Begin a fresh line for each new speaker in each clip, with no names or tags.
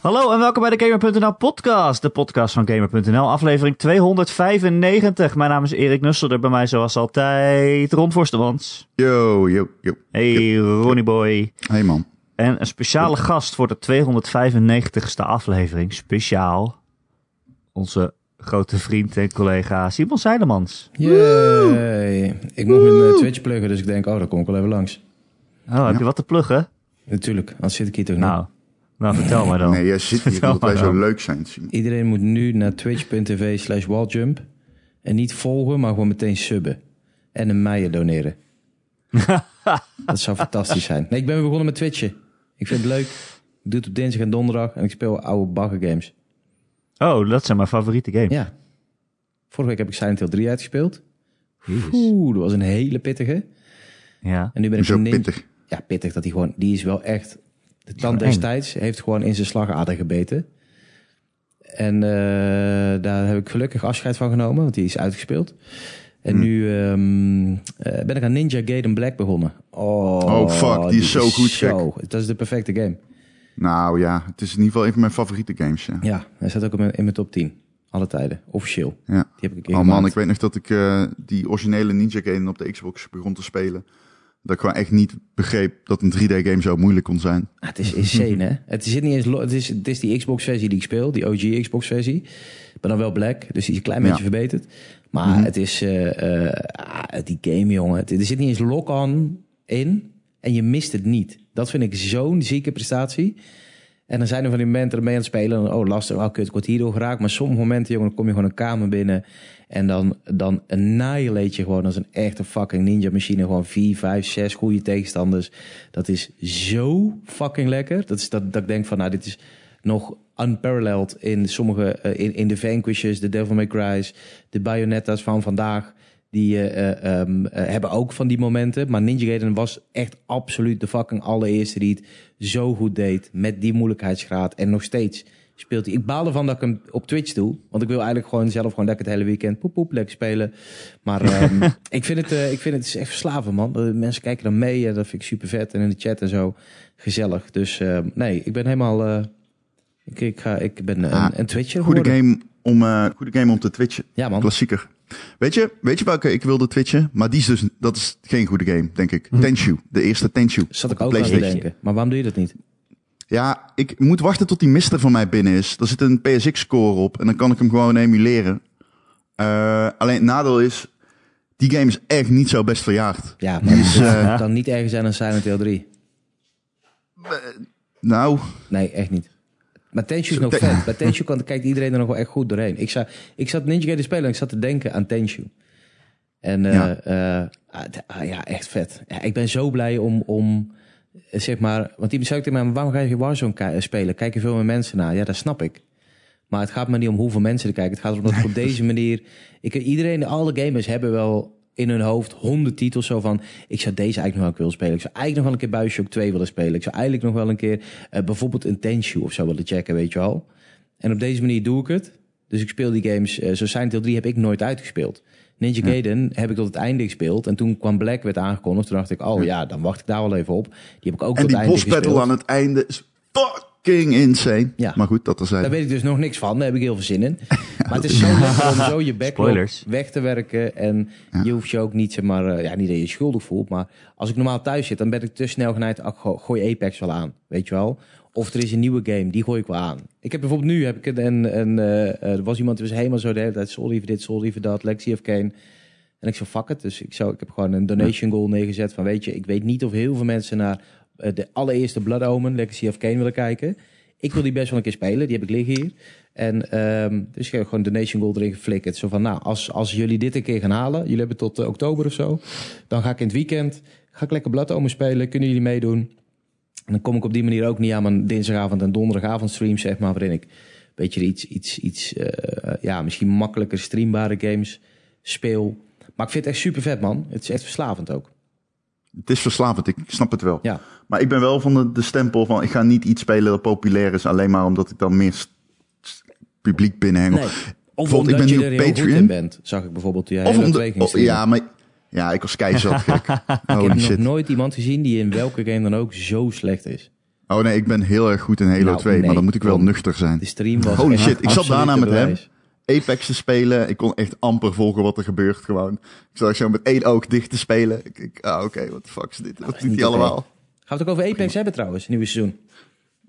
Hallo en welkom bij de Gamer.nl podcast, de podcast van Gamer.nl, aflevering 295. Mijn naam is Erik Nusselder, bij mij zoals altijd Ron Forstemans,
Yo, yo, yo.
hey Ronnie Boy
Hey man.
en een speciale gast voor de 295ste aflevering, speciaal onze grote vriend en collega Simon Seidemans.
Yay. Ik mocht mijn eh, Twitch pluggen, dus ik denk, oh, daar kom ik wel even langs.
Oh, heb je wat te pluggen?
Natuurlijk, anders zit ik hier toch niet.
Nou, nou vertel maar dan.
Nee, jij zit hier
Vertel
omdat wij
maar
zo
dan.
leuk zijn te zien.
Iedereen moet nu naar twitch.tv slash walljump. En niet volgen, maar gewoon meteen subben. En een meijer doneren. dat zou fantastisch zijn. Nee, ik ben weer begonnen met twitchen. Ik vind het leuk. Ik doe het op dinsdag en donderdag. En ik speel oude bagger games.
Oh, dat zijn mijn favoriete games.
Ja. Vorige week heb ik Silent Hill 3 uitgespeeld. Oeh, dat was een hele pittige.
Ja.
En nu ben ik
Zo
een nin-
pittig.
ja, pittig dat hij gewoon, die is wel echt. De tand
eng.
destijds heeft gewoon in zijn slagader gebeten. En eh, daar heb ik gelukkig afscheid van genomen, want die is uitgespeeld. En
Hmm.
nu ehm, eh, ben ik aan Ninja Gaiden Black begonnen. Oh,
Oh, fuck, die is zo goed,
zo- dat is de perfecte game.
Nou ja, het is in ieder geval een van mijn favoriete games. Ja.
Ja, hij staat ook in mijn, in mijn top 10. Alle tijden, officieel. Die
Ja.
heb ik een keer
Oh man,
gemaakt.
ik weet nog dat ik eh, die originele Ninja Gaiden op de Xbox begon te spelen. Dat ik gewoon echt niet begreep dat een 3D game zo moeilijk kon zijn.
Ah, het is insane, hè? Het, zit niet eens lo- het, is, het is die Xbox-versie die ik speel, die OG Xbox-versie. Maar dan wel black, dus die is een klein
Ja.
beetje verbeterd. Maar het is eh, eh, ah, die game, jongen. Het- er zit niet eens lock-on in en je mist het niet. Dat vind ik zo'n zieke prestatie. En dan zijn er van die momenten ermee aan het spelen. En, oh, lastig, oh, kut, ik word hierdoor geraakt. Maar sommige momenten, jongen, dan kom je gewoon een kamer binnen. En dan, dan annihilate je gewoon als een echte fucking ninja machine. Gewoon vier, vijf, zes goede tegenstanders. Dat is zo fucking lekker. Dat, is dat, dat ik denk van, nou, dit is nog unparalleled in sommige... eh, in, in de Vanquishes, de Devil May Cry's, de Bayonetta's van vandaag. Die eh, eh, ehm, eh, hebben ook van die momenten. Maar Ninja Gaiden was echt absoluut de fucking allereerste die het zo goed deed. Met die moeilijkheidsgraad. En nog steeds speelt hij. Ik baal ervan dat ik hem op Twitch doe. Want ik wil eigenlijk gewoon zelf gewoon lekker het hele weekend poep poep lekker spelen. Maar ehm, ik, vind het, eh, ik vind het is echt verslaven man. Eh, mensen kijken dan mee. en dat vind ik super vet. En in de chat en zo. Gezellig. Dus ehm, nee, ik ben helemaal... eh, ik, ik, ga, ik ben een,
Ah,
een Twitcher
Goede
geworden.
game om, eh, goede game om te twitchen.
Ja man.
Klassieker. Weet je, weet je welke ik wilde twitchen? Maar die is dus, dat is geen goede game, denk ik. Tenshu, de eerste Tenshu.
Zat
op
ik
de
ook aan te
PlayStation.
denken. Maar waarom doe je dat niet?
Ja, ik moet wachten tot die mister van mij binnen is. Daar zit een PSX-score op en dan kan ik hem gewoon emuleren. Eh, alleen het nadeel is, die game is echt niet zo best verjaard.
Ja, maar
Dus, eh,
dan niet ergens aan een Silent Hill 3.
nou,
Nee, echt niet. Maar Tenshu is nog
Te-
vet. Bij Tenshu kan, kijkt iedereen er nog wel echt goed doorheen. Ik, zat, ik zat Ninja Gaiden te spelen en ik zat te denken aan Tenshu. En eh,
Ja.
eh, ah, d- ah, ja, echt vet. Ja, ik ben zo blij om, om eh, zeg maar... Want die zei ook tegen mij, waarom ga je Warzone ki- eh, spelen? Kijk je veel meer mensen naar? Ja, dat snap ik. Maar het gaat me niet om hoeveel mensen er kijken. Het gaat erom dat ik op deze manier... Ik, iedereen, alle gamers hebben wel in hun hoofd honderd titels zo van... Ik zou deze eigenlijk nog wel een keer willen spelen. Ik zou eigenlijk nog wel een keer Bioshock 2 willen spelen. Ik zou eigenlijk nog wel een keer eh, bijvoorbeeld een Tenshu of zo willen checken, weet je wel. En op deze manier doe ik het. Dus ik speel die games. eh, zo Silent Hill 3 heb ik nooit uitgespeeld. Ninja Gaiden heb ik tot het einde gespeeld. En toen kwam Black werd aangekondigd. Toen dacht ik, oh ja, dan wacht ik daar wel even op. Die heb ik ook
en
tot het
die
einde
boss
gespeeld.
battle aan het einde is fucking insane.
Ja.
Maar goed, dat terzijde.
Daar weet ik dus nog niks van. Daar heb ik heel veel zin in. Maar het is zo lekker om zo je backlog
Spoilers.
weg te werken. En je hoeft je ook niet, zeg maar, eh, ja, niet dat je je schuldig voelt. Maar als ik normaal thuis zit, dan ben ik te snel geneigd. Ach, go- gooi Apex wel aan, weet je wel. Of er is een nieuwe game, die gooi ik wel aan. Ik heb bijvoorbeeld nu, heb ik een, een, een, eh, er was iemand die was helemaal zo de hele tijd. Sorry voor dit, sorry voor dat, Lexi of Kane. En ik zo, fuck het. Dus ik, zou, ik heb gewoon een donation goal neergezet van, weet je, ik weet niet of heel veel mensen naar eh, de allereerste Blood Omen, Legacy of Kane willen kijken. Ik wil die best wel een keer spelen, die heb ik liggen hier. En ehm, dus ik heb gewoon een donation goal erin geflikkerd. Zo van, nou, als, als jullie dit een keer gaan halen, jullie hebben tot eh, oktober of zo, dan ga ik in het weekend, ga ik lekker Blood Omen spelen, kunnen jullie meedoen? En dan kom ik op die manier ook niet aan mijn dinsdagavond en donderdagavond streams, zeg maar, waarin ik een beetje iets, iets, iets eh, ja, misschien makkelijker streambare games speel. Maar ik vind het echt super vet, man. Het is echt verslavend ook.
Het is verslavend, ik snap het wel.
Ja,
Maar ik ben wel van de, de stempel van, ik ga niet iets spelen dat populair is... alleen maar omdat ik dan meer st- st- publiek binnenhengel.
nee. Of
Bijvoorbeeld,
omdat
ik ben
je
nu
er
op
heel goed
Patreon.
in bent, zag ik bijvoorbeeld toen jij Halo
om de-
2 ging
oh,
streamen.
ja, maar ja, ik was keizat gek.
ik
Holy
heb nog
shit.
nooit iemand gezien die in welke game dan ook zo slecht is.
Oh nee, ik ben heel erg goed in Halo
Nou,
2,
nee,
maar dan moet ik wel
kom.
nuchter zijn.
De stream was
Holy
echt
shit, ik zat
absoluut
daarna
een
met hem.
bewijs.
Apex te spelen, ik kon echt amper volgen wat er gebeurt gewoon. Ik zat zo met één oog dicht te spelen. Ik, ik, ah oké, what the fuck is dit? Wat
is
doet
niet
hij
oké.
allemaal?
Gaan we het ook over Apex hebben trouwens, nieuwe seizoen.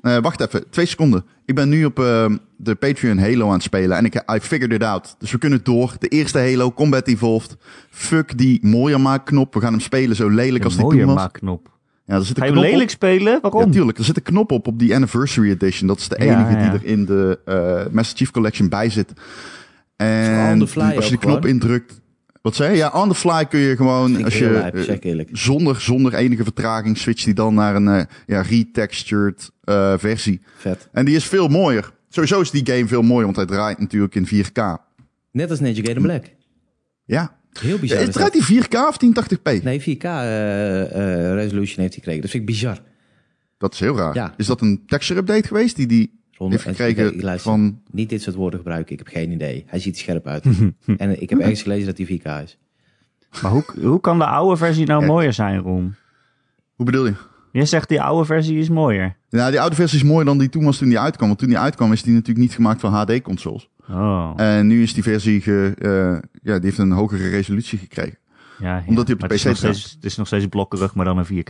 Eh, wacht even, twee seconden. Ik ben nu op ehm, de Patreon Halo aan het spelen en ik eh, I figured it out. Dus we kunnen door. De eerste Halo, Combat Evolved. Fuck die mooier maakknop. We gaan hem spelen zo lelijk als die
mooie
toen was.
maakknop.
Ja, er zit een
Ga je hem
knop op.
lelijk spelen?
Ja,
Waarom?
tuurlijk. Er zit een knop op op die Anniversary Edition. Dat is
Ja,
de enige
ja.
die er in de eh Master Chief Collection bij zit. En
On the fly
als je de
ook
knop
gewoon.
indrukt... Wat zei je? Ja, on the fly kun je gewoon...
Ik
Als
heel
je,
lijp,
eh,
zeg eerlijk.
zonder, zonder enige vertraging switcht die dan naar een eh, ja, retextured eh, versie.
Vet.
En die is veel mooier. Sowieso is die game veel mooier, want hij draait natuurlijk in 4K.
Net als Ninja Gaiden Black.
Ja.
Heel
ja
bizar.
is-
is dat.
Eh, draait die 4K of 1080p?
Nee, 4K eh, eh, resolution heeft hij gekregen. Dat vind ik bizar.
Dat is heel raar.
Ja.
Is dat een texture update geweest die die
Ron,
heeft
eh,
gekregen
oké, luister.
van...
Niet dit soort woorden gebruiken, ik heb geen idee. Hij ziet er scherp uit. en eh, ik heb ergens gelezen dat hij 4K is.
Maar hoe, hoe kan de oude versie nou
Ja.
mooier zijn, Ron?
Hoe bedoel je?
Jij zegt die oude versie is mooier.
Nou, die oude versie is mooier dan die toen was toen die uitkwam. Want toen die uitkwam is die natuurlijk niet gemaakt van HD-consoles.
Oh,
En nu is die versie, ge, eh, ja, die heeft een hogere resolutie gekregen.
ja, ja.
omdat die op de
Maar het is
PC
nog steeds- Het is nog steeds blokkerig, maar dan een 4K.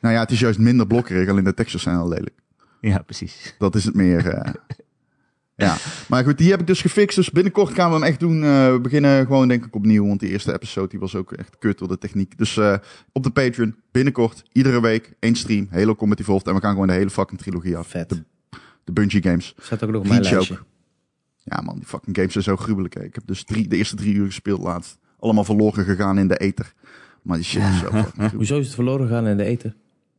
Nou ja, het is juist minder blokkerig, alleen de textures zijn al lelijk.
Ja, precies.
Dat is het meer. eh. ja, maar goed, die heb ik dus gefixt. Dus binnenkort gaan we hem echt doen. Eh, we beginnen gewoon denk ik opnieuw, want die eerste episode die was ook echt kut door de techniek. Dus eh, op de Patreon, binnenkort, iedere week, één stream, Halo Combat Evolved. En we gaan gewoon de hele fucking trilogie af.
Vet.
De, de Bungie games.
Staat ook nog op mijn
Reach
lijstje.
Ja, man, die fucking games zijn zo gruwelijk. Hè. Ik heb dus drie, de eerste drie uur gespeeld laatst. Allemaal verloren gegaan in de ether. Maar die shit is zo fucking gruwelijk.
Hoezo is het verloren gegaan in de eten?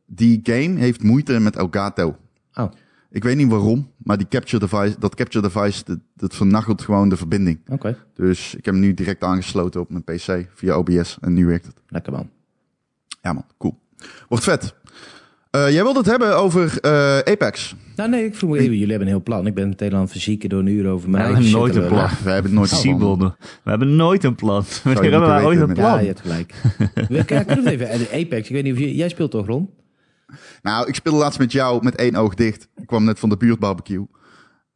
Die game heeft moeite met Elgato.
Oh, oké.
Ik weet niet waarom, maar die capture device, dat capture device, dat, dat vernachelt gewoon de verbinding. Dus ik heb hem nu direct aangesloten op mijn PC via OBS en nu werkt het.
Lekker man.
Ja man, cool. Wordt vet. Eh, jij wilde het hebben over eh, Apex.
Nou nee, ik vroeg me even, jullie hebben een heel plan. Ik ben meteen aan het fysieken door een uur over mij.
We hebben nooit een plan.
We hebben het nooit
Siebel,
gevonden.
we hebben nooit een plan. Wanneer
moeten
hebben wij ooit een
weten,
Ja,
plan?
je hebt gelijk. We kijken het even. En de Apex, ik weet niet of je, jij speelt toch Ron?
Nou, ik speelde laatst met jou met één oog dicht. Ik kwam net van de buurtbarbecue.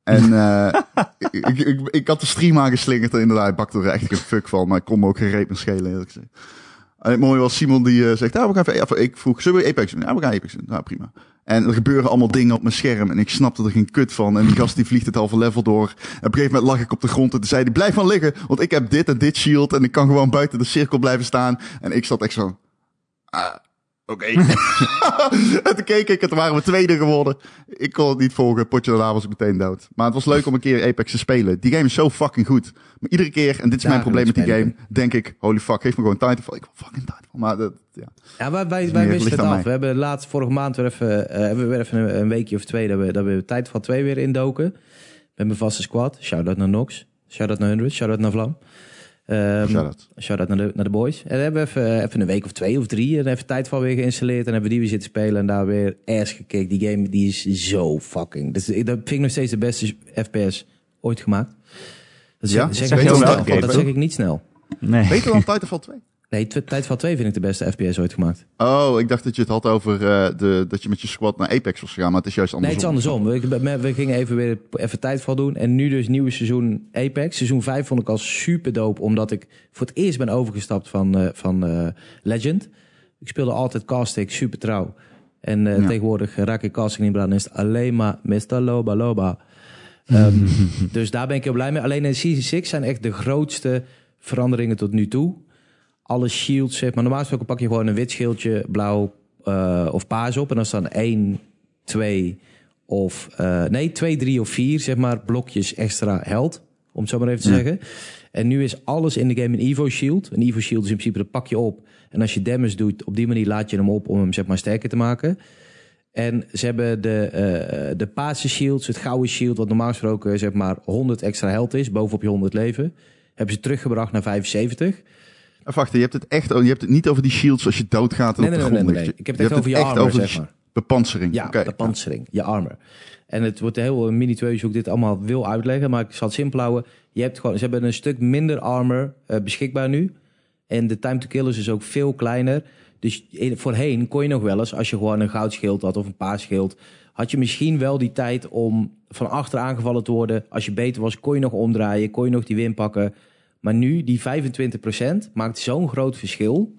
En eh, ik, ik, ik, ik had de stream aangeslingerd en inderdaad, ik bakte er echt een fuck van. Maar ik kon me ook geen reep meer schelen, eerlijk gezegd. En het mooie was Simon die eh, zegt, ah, we gaan even, of ik vroeg, zullen we Apex doen? Ja, we gaan Apex doen. Nou, prima. En er gebeuren allemaal dingen op mijn scherm en ik snapte er geen kut van. En die gast die vliegt het halve level door. En op een gegeven moment lag ik op de grond en toen zei hij, blijf van liggen, want ik heb dit en dit shield en ik kan gewoon buiten de cirkel blijven staan. En ik zat echt zo, ah, oké. en toen keek ik en toen waren we tweede geworden. Ik kon het niet volgen, potje daarna was ik meteen dood. Maar het was leuk om een keer Apex te spelen. Die game is zo fucking goed. Maar iedere keer, en dit is
Daar
mijn probleem met die
spelen.
game, denk ik, holy fuck, geef me gewoon Titanfall. Ik wil fucking Titanfall. Maar dat, ja.
Ja, wij, wij,
is
wij
meer
wisten
licht aan
het af.
mij.
We hebben laatst vorige maand weer even, eh, hebben we weer even een, een weekje of twee dat we, dat we tijd van twee weer indoken. Met mijn vaste squad. Shout-out naar Nox. Shout-out naar 100. Shout-out naar Vlam. Ehm,
Shout-out.
shout-out naar de, naar de boys. En daar hebben we even, even een week of twee of drie. En even tijd van weer geïnstalleerd. En hebben we die weer zitten spelen. En daar weer ass gekeken. Die game die is zo fucking. Dat, is- dat vind ik nog steeds de beste FPS ooit gemaakt. Dat
Ja?
zeg,
Zeg
ik
je
niet
wel
snel.
welke game,
dat
toch?
zeg ik niet snel.
Nee.
Beter dan Titanfall 2.
Nee, Tw- tijd van twee vind ik de beste FPS ooit gemaakt.
Oh, ik dacht dat je het had over eh, de, dat je met je squad naar Apex was gegaan, maar het is juist
Nee,
andersom.
het is andersom. We, we gingen even weer even tijdval doen. En nu dus nieuwe seizoen Apex. Seizoen 5 vond ik al super dope. Omdat ik voor het eerst ben overgestapt van, eh, van eh, Legend. Ik speelde altijd casting, super trouw. En eh,
Ja.
tegenwoordig raak ik casting niet meer aan. Dan is het alleen maar Mr. Loba Loba. Ehm, dus daar ben ik heel blij mee. Alleen in Season 6 zijn echt de grootste veranderingen tot nu toe. Alle shields, zeg maar. Normaal gesproken pak je gewoon een wit schildje, blauw eh, of paars op. En dan staan één, twee of... eh, nee, twee, drie of vier, zeg maar, blokjes extra held. Om het zo maar even te zeggen. En nu is alles in de game een Evo Shield. Een Evo Shield is in principe, dat pak je op. En als je damage doet, op die manier laat je hem op om hem zeg maar sterker te maken. En ze hebben de, eh de paarse shields, het gouden shield, wat normaal gesproken zeg maar 100 extra held is, bovenop je 100 leven. Hebben ze teruggebracht naar 75.
Even wachten, Eh, je hebt het echt, oh, je hebt het niet over die shields als je doodgaat en
Nee,
op de
nee, nee,
grond
nee, nee.
ligt.
Ik heb het
Je
echt
hebt
over je armor,
over de
zeg maar.
bepansering.
Ja,
Oké.
de pansering, je armor. En het wordt heel minutieus hoe ik dit allemaal wil uitleggen, maar ik zal het simpel houden. Je hebt gewoon, ze hebben een stuk minder armor eh, beschikbaar nu. En de time to kill is dus ook veel kleiner. Dus in- voorheen kon je nog wel eens, als je gewoon een goudschild had of een paars schild, had je misschien wel die tijd om van achter aangevallen te worden. Als je beter was, kon je nog omdraaien, kon je nog die win pakken. Maar nu, die 25% maakt zo'n groot verschil,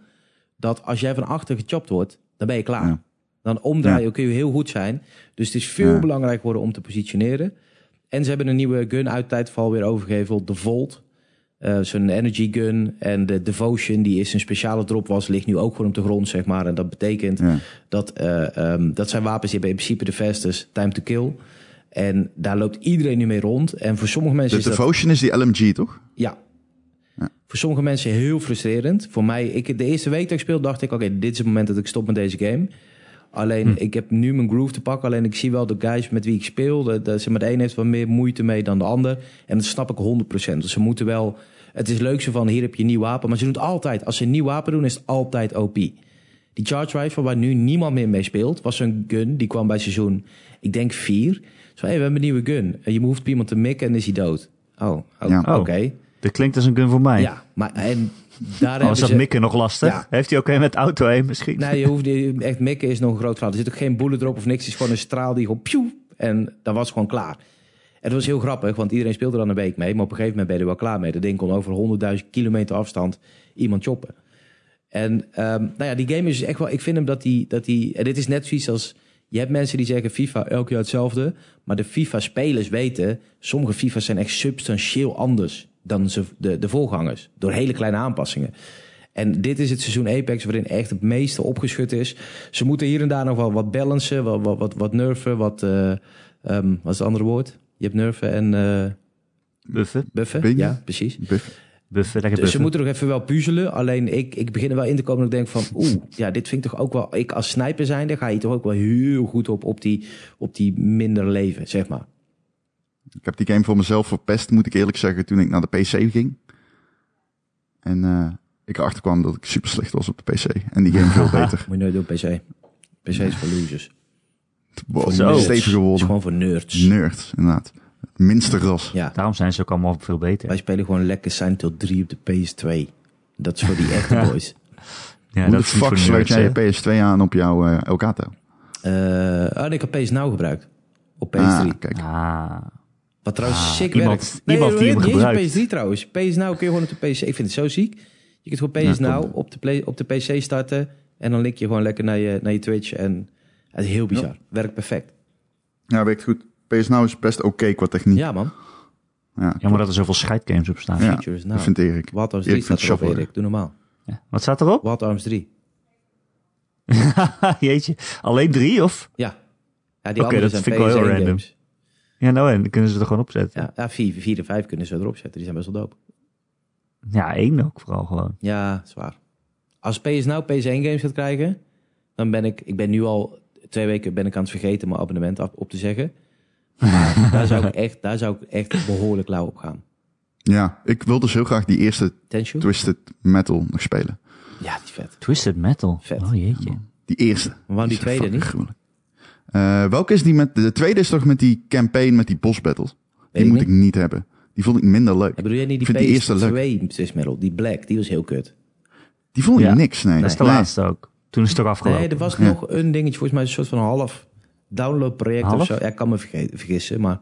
dat als jij van achter gechopt wordt, dan ben je klaar.
Ja.
Dan omdraaien kun je heel goed zijn. Dus het is veel
Ja.
belangrijk geworden om te positioneren. En ze hebben een nieuwe gun uit tijdval weer overgeheveld, de Volt. Eh, Zo'n energy gun en de Devotion, die is een speciale drop was, ligt nu ook gewoon op de grond, zeg maar. En dat betekent
Ja.
dat, eh, ehm, dat zijn wapens die hebben in principe de fastest time to kill. En daar loopt iedereen nu mee rond. En voor sommige mensen
De
is dat...
Devotion is die LMG, toch?
Ja. Voor sommige mensen heel frustrerend. Voor mij, ik, de eerste week dat ik speelde, dacht ik: oké, dit is het moment dat ik stop met deze game. Alleen, ik heb nu mijn groove te pakken. Alleen, ik zie wel de guys met wie ik speel. De, de, zeg maar, de een heeft wat meer moeite mee dan de ander. En dat snap ik 100%. Dus ze moeten wel... Het is leuk zo van, hier heb je een nieuw wapen. Maar ze doen het altijd. Als ze een nieuw wapen doen, is het altijd OP. Die Charge Rifle, waar nu niemand meer mee speelt, was een gun. Die kwam bij seizoen, ik denk, 4. Zo, hey, we hebben een nieuwe gun. En je hoeft op iemand te mikken en is hij dood. Oh, oh,
Ja.
oké.
Oh. Dit klinkt als een gun voor mij.
Ja, maar en
Al was
daar hebben
dus
dat
ze...
mikken nog lastig?
Ja.
Heeft hij ook een met auto heen misschien?
Nee, je hoeft je- echt mikken is nog een groot verhaal. Er zit ook geen bullet erop of niks. Het is gewoon een straal die gewoon pjoe en dat was gewoon klaar. En dat was heel grappig, want iedereen speelde er dan een week mee. Maar op een gegeven moment ben je er wel klaar mee. Dat ding kon over 100.000 kilometer afstand iemand choppen. En ehm, nou ja, die game is echt wel... Ik vind hem dat die... Dat die en dit is net zoiets als... Je hebt mensen die zeggen FIFA elk jaar hetzelfde. Maar de FIFA-spelers weten... Sommige FIFA's zijn echt substantieel anders dan ze, de, de voorgangers. Door hele kleine aanpassingen. En dit is het seizoen Apex waarin echt het meeste opgeschud is. Ze moeten hier en daar nog wel wat balancen, wat, wat, wat, wat nerven, wat... eh, ehm, wat is het andere woord? Je hebt nerven en eh
Buffen,
buffen.
Bingen?
Ja, precies.
Buff.
buffen, lekker
Dus
buffen.
ze moeten nog even wel puzzelen. Alleen ik, ik begin er wel in te komen dat ik denk van... Oeh, ja, dit vind ik toch ook wel... Ik als sniper zijnde ga je toch ook wel heel goed op, op, die, op die minder leven, zeg maar.
Ik heb die game voor mezelf verpest, moet ik eerlijk zeggen, toen ik naar de PC ging. En eh, ik erachter kwam dat ik super slecht was op de PC. En die game veel beter.
Moet je nooit doen op PC. PC is voor losers. Het
Wow,
Zo.
Stevig
is
geworden.
gewoon voor nerds.
Nerds, inderdaad. Het minste ras.
Ja,
Daarom zijn ze ook allemaal veel beter.
wij spelen gewoon lekker Silent Hill 3 op de PS2. Dat is voor die echte boys.
Ja,
Hoe de
is niet
fuck
voor
sluit
nerds,
jij
hè?
je PS2 aan op jouw eh, Elgato?
Eh, oh, en ik heb PS Now gebruikt. Op PS3.
Ah, kijk.
Ah,
Wat trouwens sick
iemand-
werkt.
iemand die hem
niet eens
gebruikt.
op PS3 trouwens. PS Now kun je gewoon op de PC. Ik vind het zo ziek. Je kunt gewoon PS
Ja,
Now op de, play- op de PC starten. En dan link je gewoon lekker naar je, naar je Twitch. En het is heel bizar. Werkt perfect.
Ja, werkt goed. PS Now is best oké qua techniek. Ja,
Ja man.
jammer dat er zoveel scheidgames op staan.
Ja.
Features Now.
dat vind ik.
Wild Arms
Ja,
3
ik
staat
vind
erop
shopper.
Erik. Doe normaal.
Ja. Wat staat erop? Ah,
Wild Arms 3.
Jeetje, alleen drie of?
Ja. Ja,
Oké,
die andere
dat
zijn
vind ik wel heel
PS1
random.
games.
Ja, nou en, dan kunnen ze er gewoon opzetten.
Ja, ja 4, 4 en 5 kunnen ze erop zetten. Die zijn best wel dope.
Ja, één ook vooral gewoon.
Ja, zwaar. Als PS nou PS1 games gaat krijgen, dan ben ik, ik ben nu al twee weken ben ik aan het vergeten mijn abonnement af, op te zeggen. Maar daar, zou ik echt, daar zou ik echt behoorlijk lauw op gaan.
Ja, ik wil dus heel graag die eerste
Tenshu?
Twisted Metal nog spelen.
Ja, die is vet.
Twisted Metal.
Vet.
Oh jeetje.
Die eerste.
waarom Oh, die
is echt
tweede
fucking
niet?
gruwelijk. Eh, welke is die met... De tweede is toch met die campaign met die boss battles? Die
ik
moet
niet.
ik niet hebben. Die vond ik minder leuk.
Ik bedoel jij niet
Ik
die
vind die eerste leuk.
PS2 Twist Metal, die Black, die was heel kut.
Die vond ik
Ja.
niks, nee.
Dat is de
Nee.
laatste ook. Toen is het toch afgelopen.
Nee, er was
Ja.
nog een dingetje, volgens mij een soort van half download project
Half?
of zo. Ja, ik kan me verge- vergissen, maar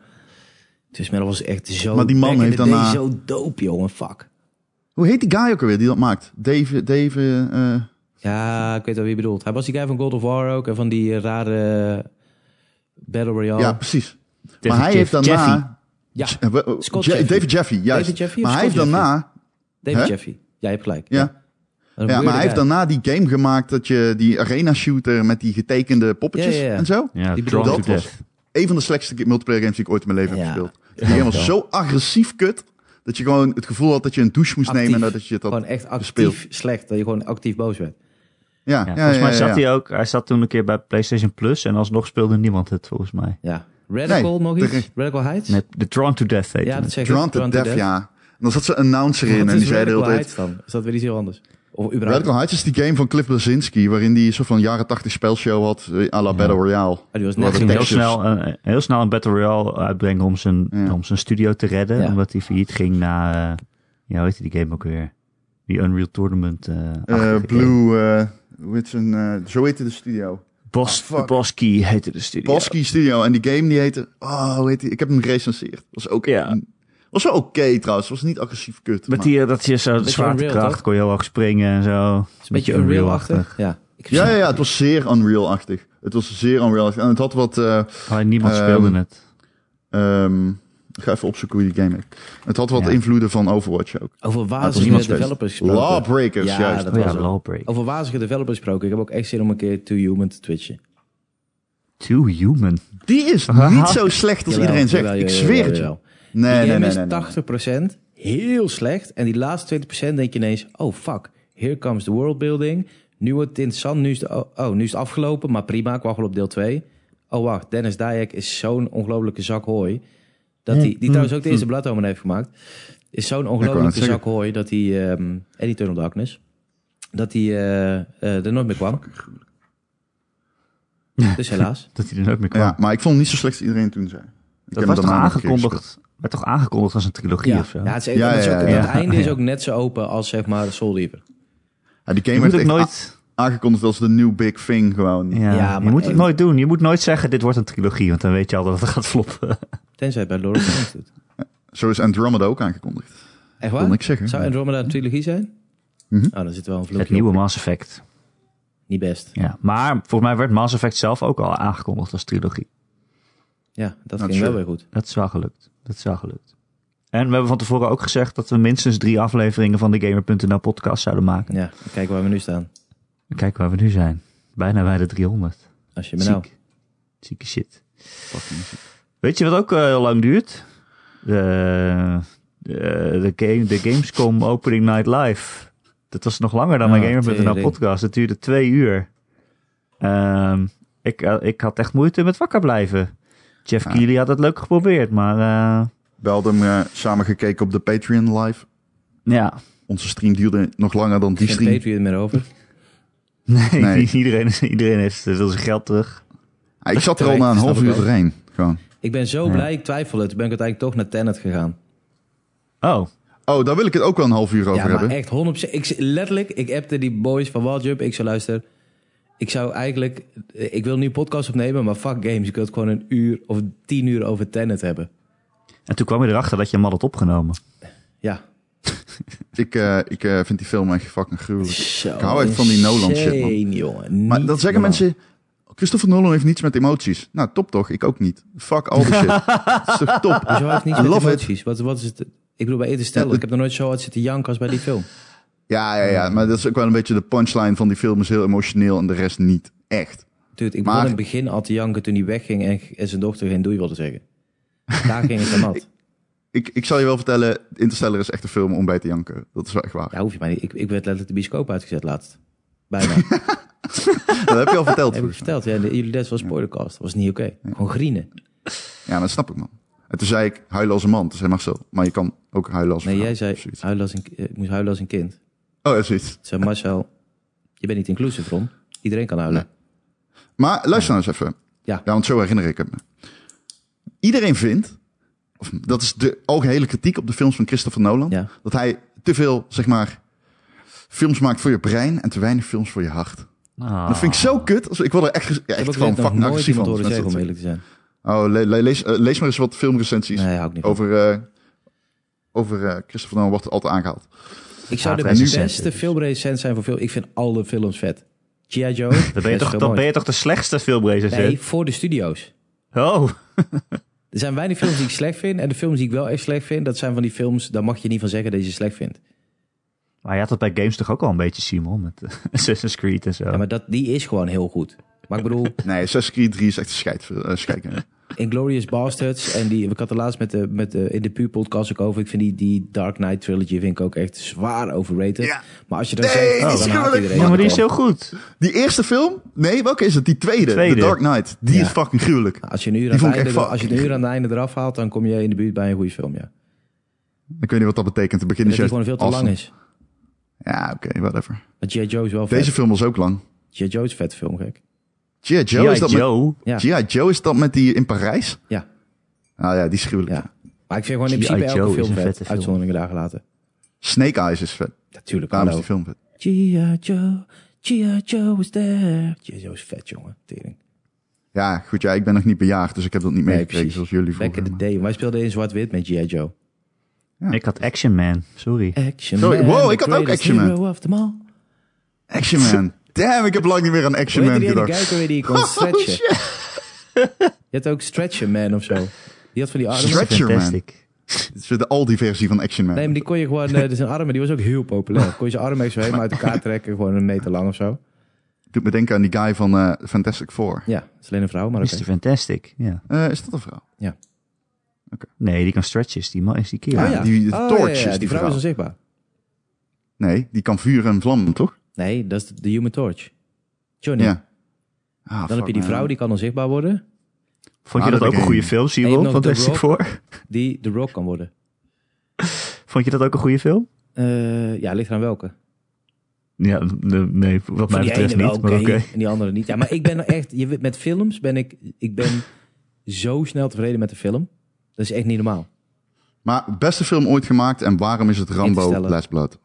Twist Metal was echt zo...
Maar die man
back in
heeft
the day
daarna-
Zo dope, jongen, fuck.
Hoe heet die guy ook alweer die dat maakt? Dave... Dave eh, eh,
Ja, ik weet wel wie je bedoelt. Hij was die guy van God of War ook en van die eh, rare Battle Royale.
Ja,
Ja.
precies.
David
maar hij heeft
Jeff-
daarna...
Jeffy.
ja.
Eh, we- eh,
Scott
Je-
Jeffy.
David Jeffy, juist.
David Jeffy of
maar hij
Scott
heeft daarna,
David
Hè?
Jeffy. Ja, je hebt gelijk.
ja, ja,
Een
maar
weirde
hij heeft
guy.
daarna die game gemaakt dat je die arena shooter met die getekende poppetjes
Ja, ja, ja.
en zo.
Ja,
Die
Drunk
bedoel-
to
dat was-
Death.
Een van de slechtste multiplayer games die ik ooit in mijn leven
Ja.
heb gespeeld. Die game was zo agressief kut dat je gewoon het gevoel had dat je een douche moest
Actief.
nemen en dat je dat
Gewoon echt actief
gespeeld.
slecht. Dat je gewoon actief boos werd.
Ja,
ja, ja,
volgens
ja,
mij
ja,
zat
ja.
hij ook, hij zat toen een keer bij PlayStation Plus en alsnog speelde niemand het volgens mij.
Ja. Radical
Nee,
nog iets?
terecht.
Radical Heights?
Net de Drawn to Death heette
ja,
het.
dat zeg ik.
Drunk to Death, ja. En dan zat ze announcer in
Wat
en
is
die zei de hele
Radical
tijd...
Heights dan? Is dat weer iets heel anders? Of überhaupt?
Radical Heights is die game van Cliff Blazinski, waarin die een soort van jaren 80 spelshow had, eh, à la Battle Royale.
Ah, die was
Hij
net
ging
Wat
heel
Texas.
snel, een, heel snel een Battle Royale uitbrengen om zijn,
Ja.
om zijn studio te redden.
Ja.
Omdat hij failliet ging na, eh, ja, hoe heette die game ook weer? Die Unreal Tournament. eh
Eh,
achtige game.
Blue, eh, hoe heet zijn, eh, zo heette de studio.
Bos,
Ah, fuck.
Boski heette de studio.
Bosky Studio. En die game die heette, oh, hoe heet die? Ik heb hem gerecenseerd. Was ook,
Ja.
was wel oké trouwens. Was niet agressief kut.
Met
maar-
die, eh, dat je zo de
Beetje Unreal,
zwaartekracht
toch?
kon je heel hoog springen en zo.
is een beetje Unreal-achtig.
Unreal-achtig.
Ja. Ik heb
Ja,
zo'n-
ja, ja, het was zeer Unreal-achtig. Het was zeer Unreal-achtig. En het had wat... eh,
Alleen niemand
Ehm,
speelde het.
ehm, ik ga even opzoeken hoe die game heet. Het had wat
Ja.
invloeden van Overwatch ook.
Over
was
wazige
niemand
developers gesproken.
Lawbreakers,
Ja,
juist.
dat
Oh ja,
was het.
Lawbreak.
Over wazige developers gesproken. Ik heb ook echt zin om een keer To Human te twitchen.
Too human.
Die is niet zo slecht als
Jawel,
iedereen zegt.
jawel,
ik
jawel,
zweer
jawel,
het je.
jawel.
Nee,
Die
nee, nee,
game
nee,
is
nee.
80% heel slecht. En die laatste 20% denk je ineens... Oh, fuck. Here comes the worldbuilding. Nu wordt het interessant. Nu is, de, oh, oh, nu is het afgelopen. Maar prima, ik wacht wel op deel 2. Oh, wacht. Dennis Dayek is zo'n ongelofelijke zak hooi. Dat die, die
Mm.
trouwens ook de eerste bladomen heeft gemaakt. Is zo'n
net
ongelofelijke
zeggen.
zak hooi dat hij... ehm en Eternal Darkness. Dat hij eh, eh, er nooit meer kwam. Dus helaas.
Dat hij er nooit meer kwam.
Ja, maar ik vond hem niet zo slecht als iedereen toen zei. Ik
dat
heb
was toch
hem daarna nog een keer gespeeld.
aangekondigd, werd toch aangekondigd als een trilogie
Ja,
of zo?
ja, het, is,
Ja,
het, is
ja,
ook-
ja.
het einde is ook net zo open als zeg maar Soul Reaver.
Ja, die game
je moet
werd
ook
echt
nooit...
a- aangekondigd als de new big thing gewoon.
Ja,
Ja,
je
maar
moet het
één-
nooit doen. Je moet nooit zeggen, dit wordt een trilogie. Want dan weet je al dat het gaat floppen.
Tenzij het bij Lord of the Rings doet.
Zo is Andromeda ook aangekondigd.
Echt
Kon
waar?
ik zeggen.
Zou Andromeda een trilogie zijn?
Mhm.
Oh, dan zit wel een vloekje
Het nieuwe
op.
Mass Effect.
Niet best.
Ja. Maar volgens mij werd Mass Effect zelf ook al aangekondigd als trilogie.
Ja, dat
Nou,
ging wel
sure.
weer goed.
Dat is wel gelukt. Dat is wel gelukt. En we hebben van tevoren ook gezegd dat we minstens drie afleveringen van de Gamer.nl podcast zouden maken.
Ja, kijk waar we nu staan.
Kijk waar we nu zijn. Bijna bij de 300.
Als je me nou...
Ziek. Zieke shit. Weet je wat ook eh, heel lang duurt? De, de, de, game, de Gamescom Opening Night Live. Dat was nog langer dan
Ja,
mijn Gamer.nl
tering.
podcast. Het duurde twee uur. Ehm, ik, eh, ik had echt moeite met wakker blijven. Jeff
Ja.
Keighley had het leuk geprobeerd, maar eh,
Belde hem eh, samen gekeken op de Patreon live.
ja.
Onze stream duurde nog langer dan die
Geen
stream.
Patreon meer over.
Nee,
Nee.
Iedereen, is- iedereen heeft eh, wil zijn geld terug.
Ah, ik zat er al na een
Snap
half
ik
uur
ook.
doorheen. Gewoon.
Ik ben zo blij, ik twijfel het. Toen ben ik uiteindelijk toch naar Tenet gegaan.
Oh,
Oh, daar wil ik het ook wel een half uur over
ja, maar eh,
hebben.
echt 100%. Ik, letterlijk, ik appte die boys van Wildjump. Ik zou luisteren. Ik zou eigenlijk... eh, Ik wil nu een podcast opnemen, maar fuck games. Ik wil het gewoon een uur of tien uur over Tenet hebben.
en toen kwam je erachter dat je hem al had opgenomen.
Ja.
Ik, eh, ik eh, vind die film echt fucking gruwelijk.
Zo
Ik hou echt van die Nolan shit, man.
insane, jongen.
Maar
Niet
dan zeggen
normaal.
mensen... Christopher Nolan heeft niets met emoties. Nou, top toch? Ik ook niet. Fuck al die shit. Dat is toch top?
Hoezo heeft niets met
Love it.
emoties? Wat, wat is het? Ik bedoel, bij Interstellar,
Ja,
ik heb nog nooit zo hard zitten janken als bij die film.
Ja, ja, ja. Maar dat is ook wel een beetje de punchline van die film. Is heel emotioneel en de rest niet. Echt.
Dude,
Maar-
ik begon in het begin al te janken toen hij wegging en, en zijn dochter geen doei wilde zeggen. Daar ging het aan nat.
Ik, ik zal je wel vertellen, Interstellar is echt een film om bij te janken. Dat is wel echt waar.
Ja, hoef je mij niet. Ik, ik werd letterlijk de bioscoop uitgezet laatst. Bijna.
Dat heb je al verteld.
Heb ik
volgens mij.
verteld. Ja, de- jullie les was spoilercast. Dat was niet oké. Gewoon grienen.
Ja, dat snap ik man. En toen zei ik, huilen als een man. Toen zei Marcel, maar je kan ook huilen als een
Nee,
vrouw.
jij zei,
Of zoiets.
huilen als een, ki- eh, ik moest huilen als een kind. Toen
Oh, ja, zoiets.
zei Marcel, je bent niet inclusief, Ron. Iedereen kan huilen.
Maar luister nou eens even.
Ja.
want zo herinner ik het me. Iedereen vindt, of dat is de algehele kritiek op de films van Christopher Nolan,
Ja.
dat hij te veel, zeg maar, films maakt voor je brein en te weinig films voor je hart.
Ah.
Dat vind ik zo kut. als- Ik word er echt, ges- ja,
Ik heb
echt
ook
gewoon
weer nog
fucking
nooit
agressief
iemand
van.
horen
als
zeggen, om
mensen
eerlijk te zijn.
dat zeggen. Oh, le- le- lees, eh, lees maar eens wat filmrecensies
Nee, hou ik niet van.
over, eh, over eh, Christopher Nolan wordt altijd aangehaald.
Ik zou de
Haat recensenten
beste
dus.
filmrecent zijn voor film. Ik vind alle films vet. G.I. Joe.
Dan ben je,
best
toch, dan
veel
ben
mooi.
je toch de slechtste filmrecensent?
Nee, voor de studio's.
Oh,
Er zijn weinig films die ik slecht vind. En de films die ik wel echt slecht vind, dat zijn van die films... daar mag je niet van zeggen dat je ze slecht vindt.
maar je had dat bij games toch ook al een beetje, Simon? Met eh, Assassin's Creed en zo.
Ja, maar dat, die is gewoon heel goed. Maar ik bedoel,
Nee, Assassin's Creed 3 is echt een scheid, eh, scheidgame.
Inglourious Bastards... en die, ik had er laatst met de, met de, in de Puur podcast ook over... ik vind die, die Dark Knight trilogy vind ik ook echt zwaar overrated.
Ja.
Maar als je dat
Nee,
zegt, oh,
die is
dan haat
gruwelijk.
iedereen.
Ja, maar die
het
is
al.
heel goed.
Die eerste film? Nee, welke is het? Die tweede,
Tweede.
The Dark Knight. Die
Ja.
is fucking gruwelijk.
Als je, een uur aan
Die
het
vond ik
einde,
echt
als je het een uur aan het einde eraf haalt... dan kom je in de buurt bij een goede film, ja.
Ik weet niet wat dat betekent. Het begin
Dat
is juist
die gewoon veel te
awesome.
lang is.
Ja, oké, whatever.
Want G.I. Joe is wel vet.
Deze film was ook lang.
G.I. Joe is een vet film, gek.
G.I. Joe,
G.I.
is dat
Joe.
Ja.
met... G.I. Joe is dat met die in Parijs?
Ja,
Ah ja, die is gruwelijk.
ja. Maar ik vind gewoon in
G.I.
principe
Joe
elke
is
film
een
vet.
vette film.
Uitzonderingen daar gelaten.
Snake Eyes is vet.
Natuurlijk,
Daarom is die film
hallo.
vet.
G.I. Joe, G.I. Joe is there. G.I. Joe is vet, jongen. Tering.
Ja, goed, ja, ik ben nog niet bejaagd, dus ik heb dat niet meegekregen
precies.
zoals jullie
Back in
vroeger.
the
maar-
day. Wij speelden in zwart-wit met G.I. Joe.
Ik had Action Man, sorry.
Action
Sorry,
Man.
wow,
the
ik had ook
greatest
Action Man.
hero of them all.
Action Man. Damn, ik heb lang niet meer aan Action
Weet je
Man
die ene
gedacht. Oh,
guy ook alweer die je kon stretchen?
shit.
Je had ook Stretcher Man of zo. Die had van die armen.
Stretch- Action Man.
Fantastic.
Dit is weer de Aldi-versie van Action Man.
Nee, maar die kon je gewoon... eh, dus zijn armen, die was ook heel populair. Kon je zijn armen echt zo helemaal uit elkaar trekken. Gewoon een meter lang of zo.
Doet me denken aan die guy van eh, Fantastic Four.
Ja, het is alleen een vrouw, maar oké.
Mr. Fantastic, ja.
Eh, is dat een vrouw?
Nee, die kan stretches, die man is die kerel.
Ah, ja. die-
oh,
de torch is die
die vrouw
vrouw.
is onzichtbaar.
Nee, die kan vuur en vlammen, toch?
Nee, dat is de Human Torch. Johnny.
Ja. Ah,
Dan
fuck,
heb je die
man.
vrouw die kan onzichtbaar worden.
Vond je
Ah,
dat
dat
ook
ik-
een goede film,
Eén
Simon?
nog
Fantastic
de
Four?
Die The Rock kan worden.
Vond je dat ook een goede film?
Eh, ja, ligt eraan welke.
Ja, n- nee, wat mij
Van die
betreft
ene wel
niet, maar
oké
oké.
en die andere niet. Ja, maar ik ben echt... Je, weet, met films ben ik... Ik ben zo snel tevreden met de film. Dat is echt niet normaal.
Maar beste film ooit gemaakt en waarom is het Rambo
Interstellar.
Last Blood?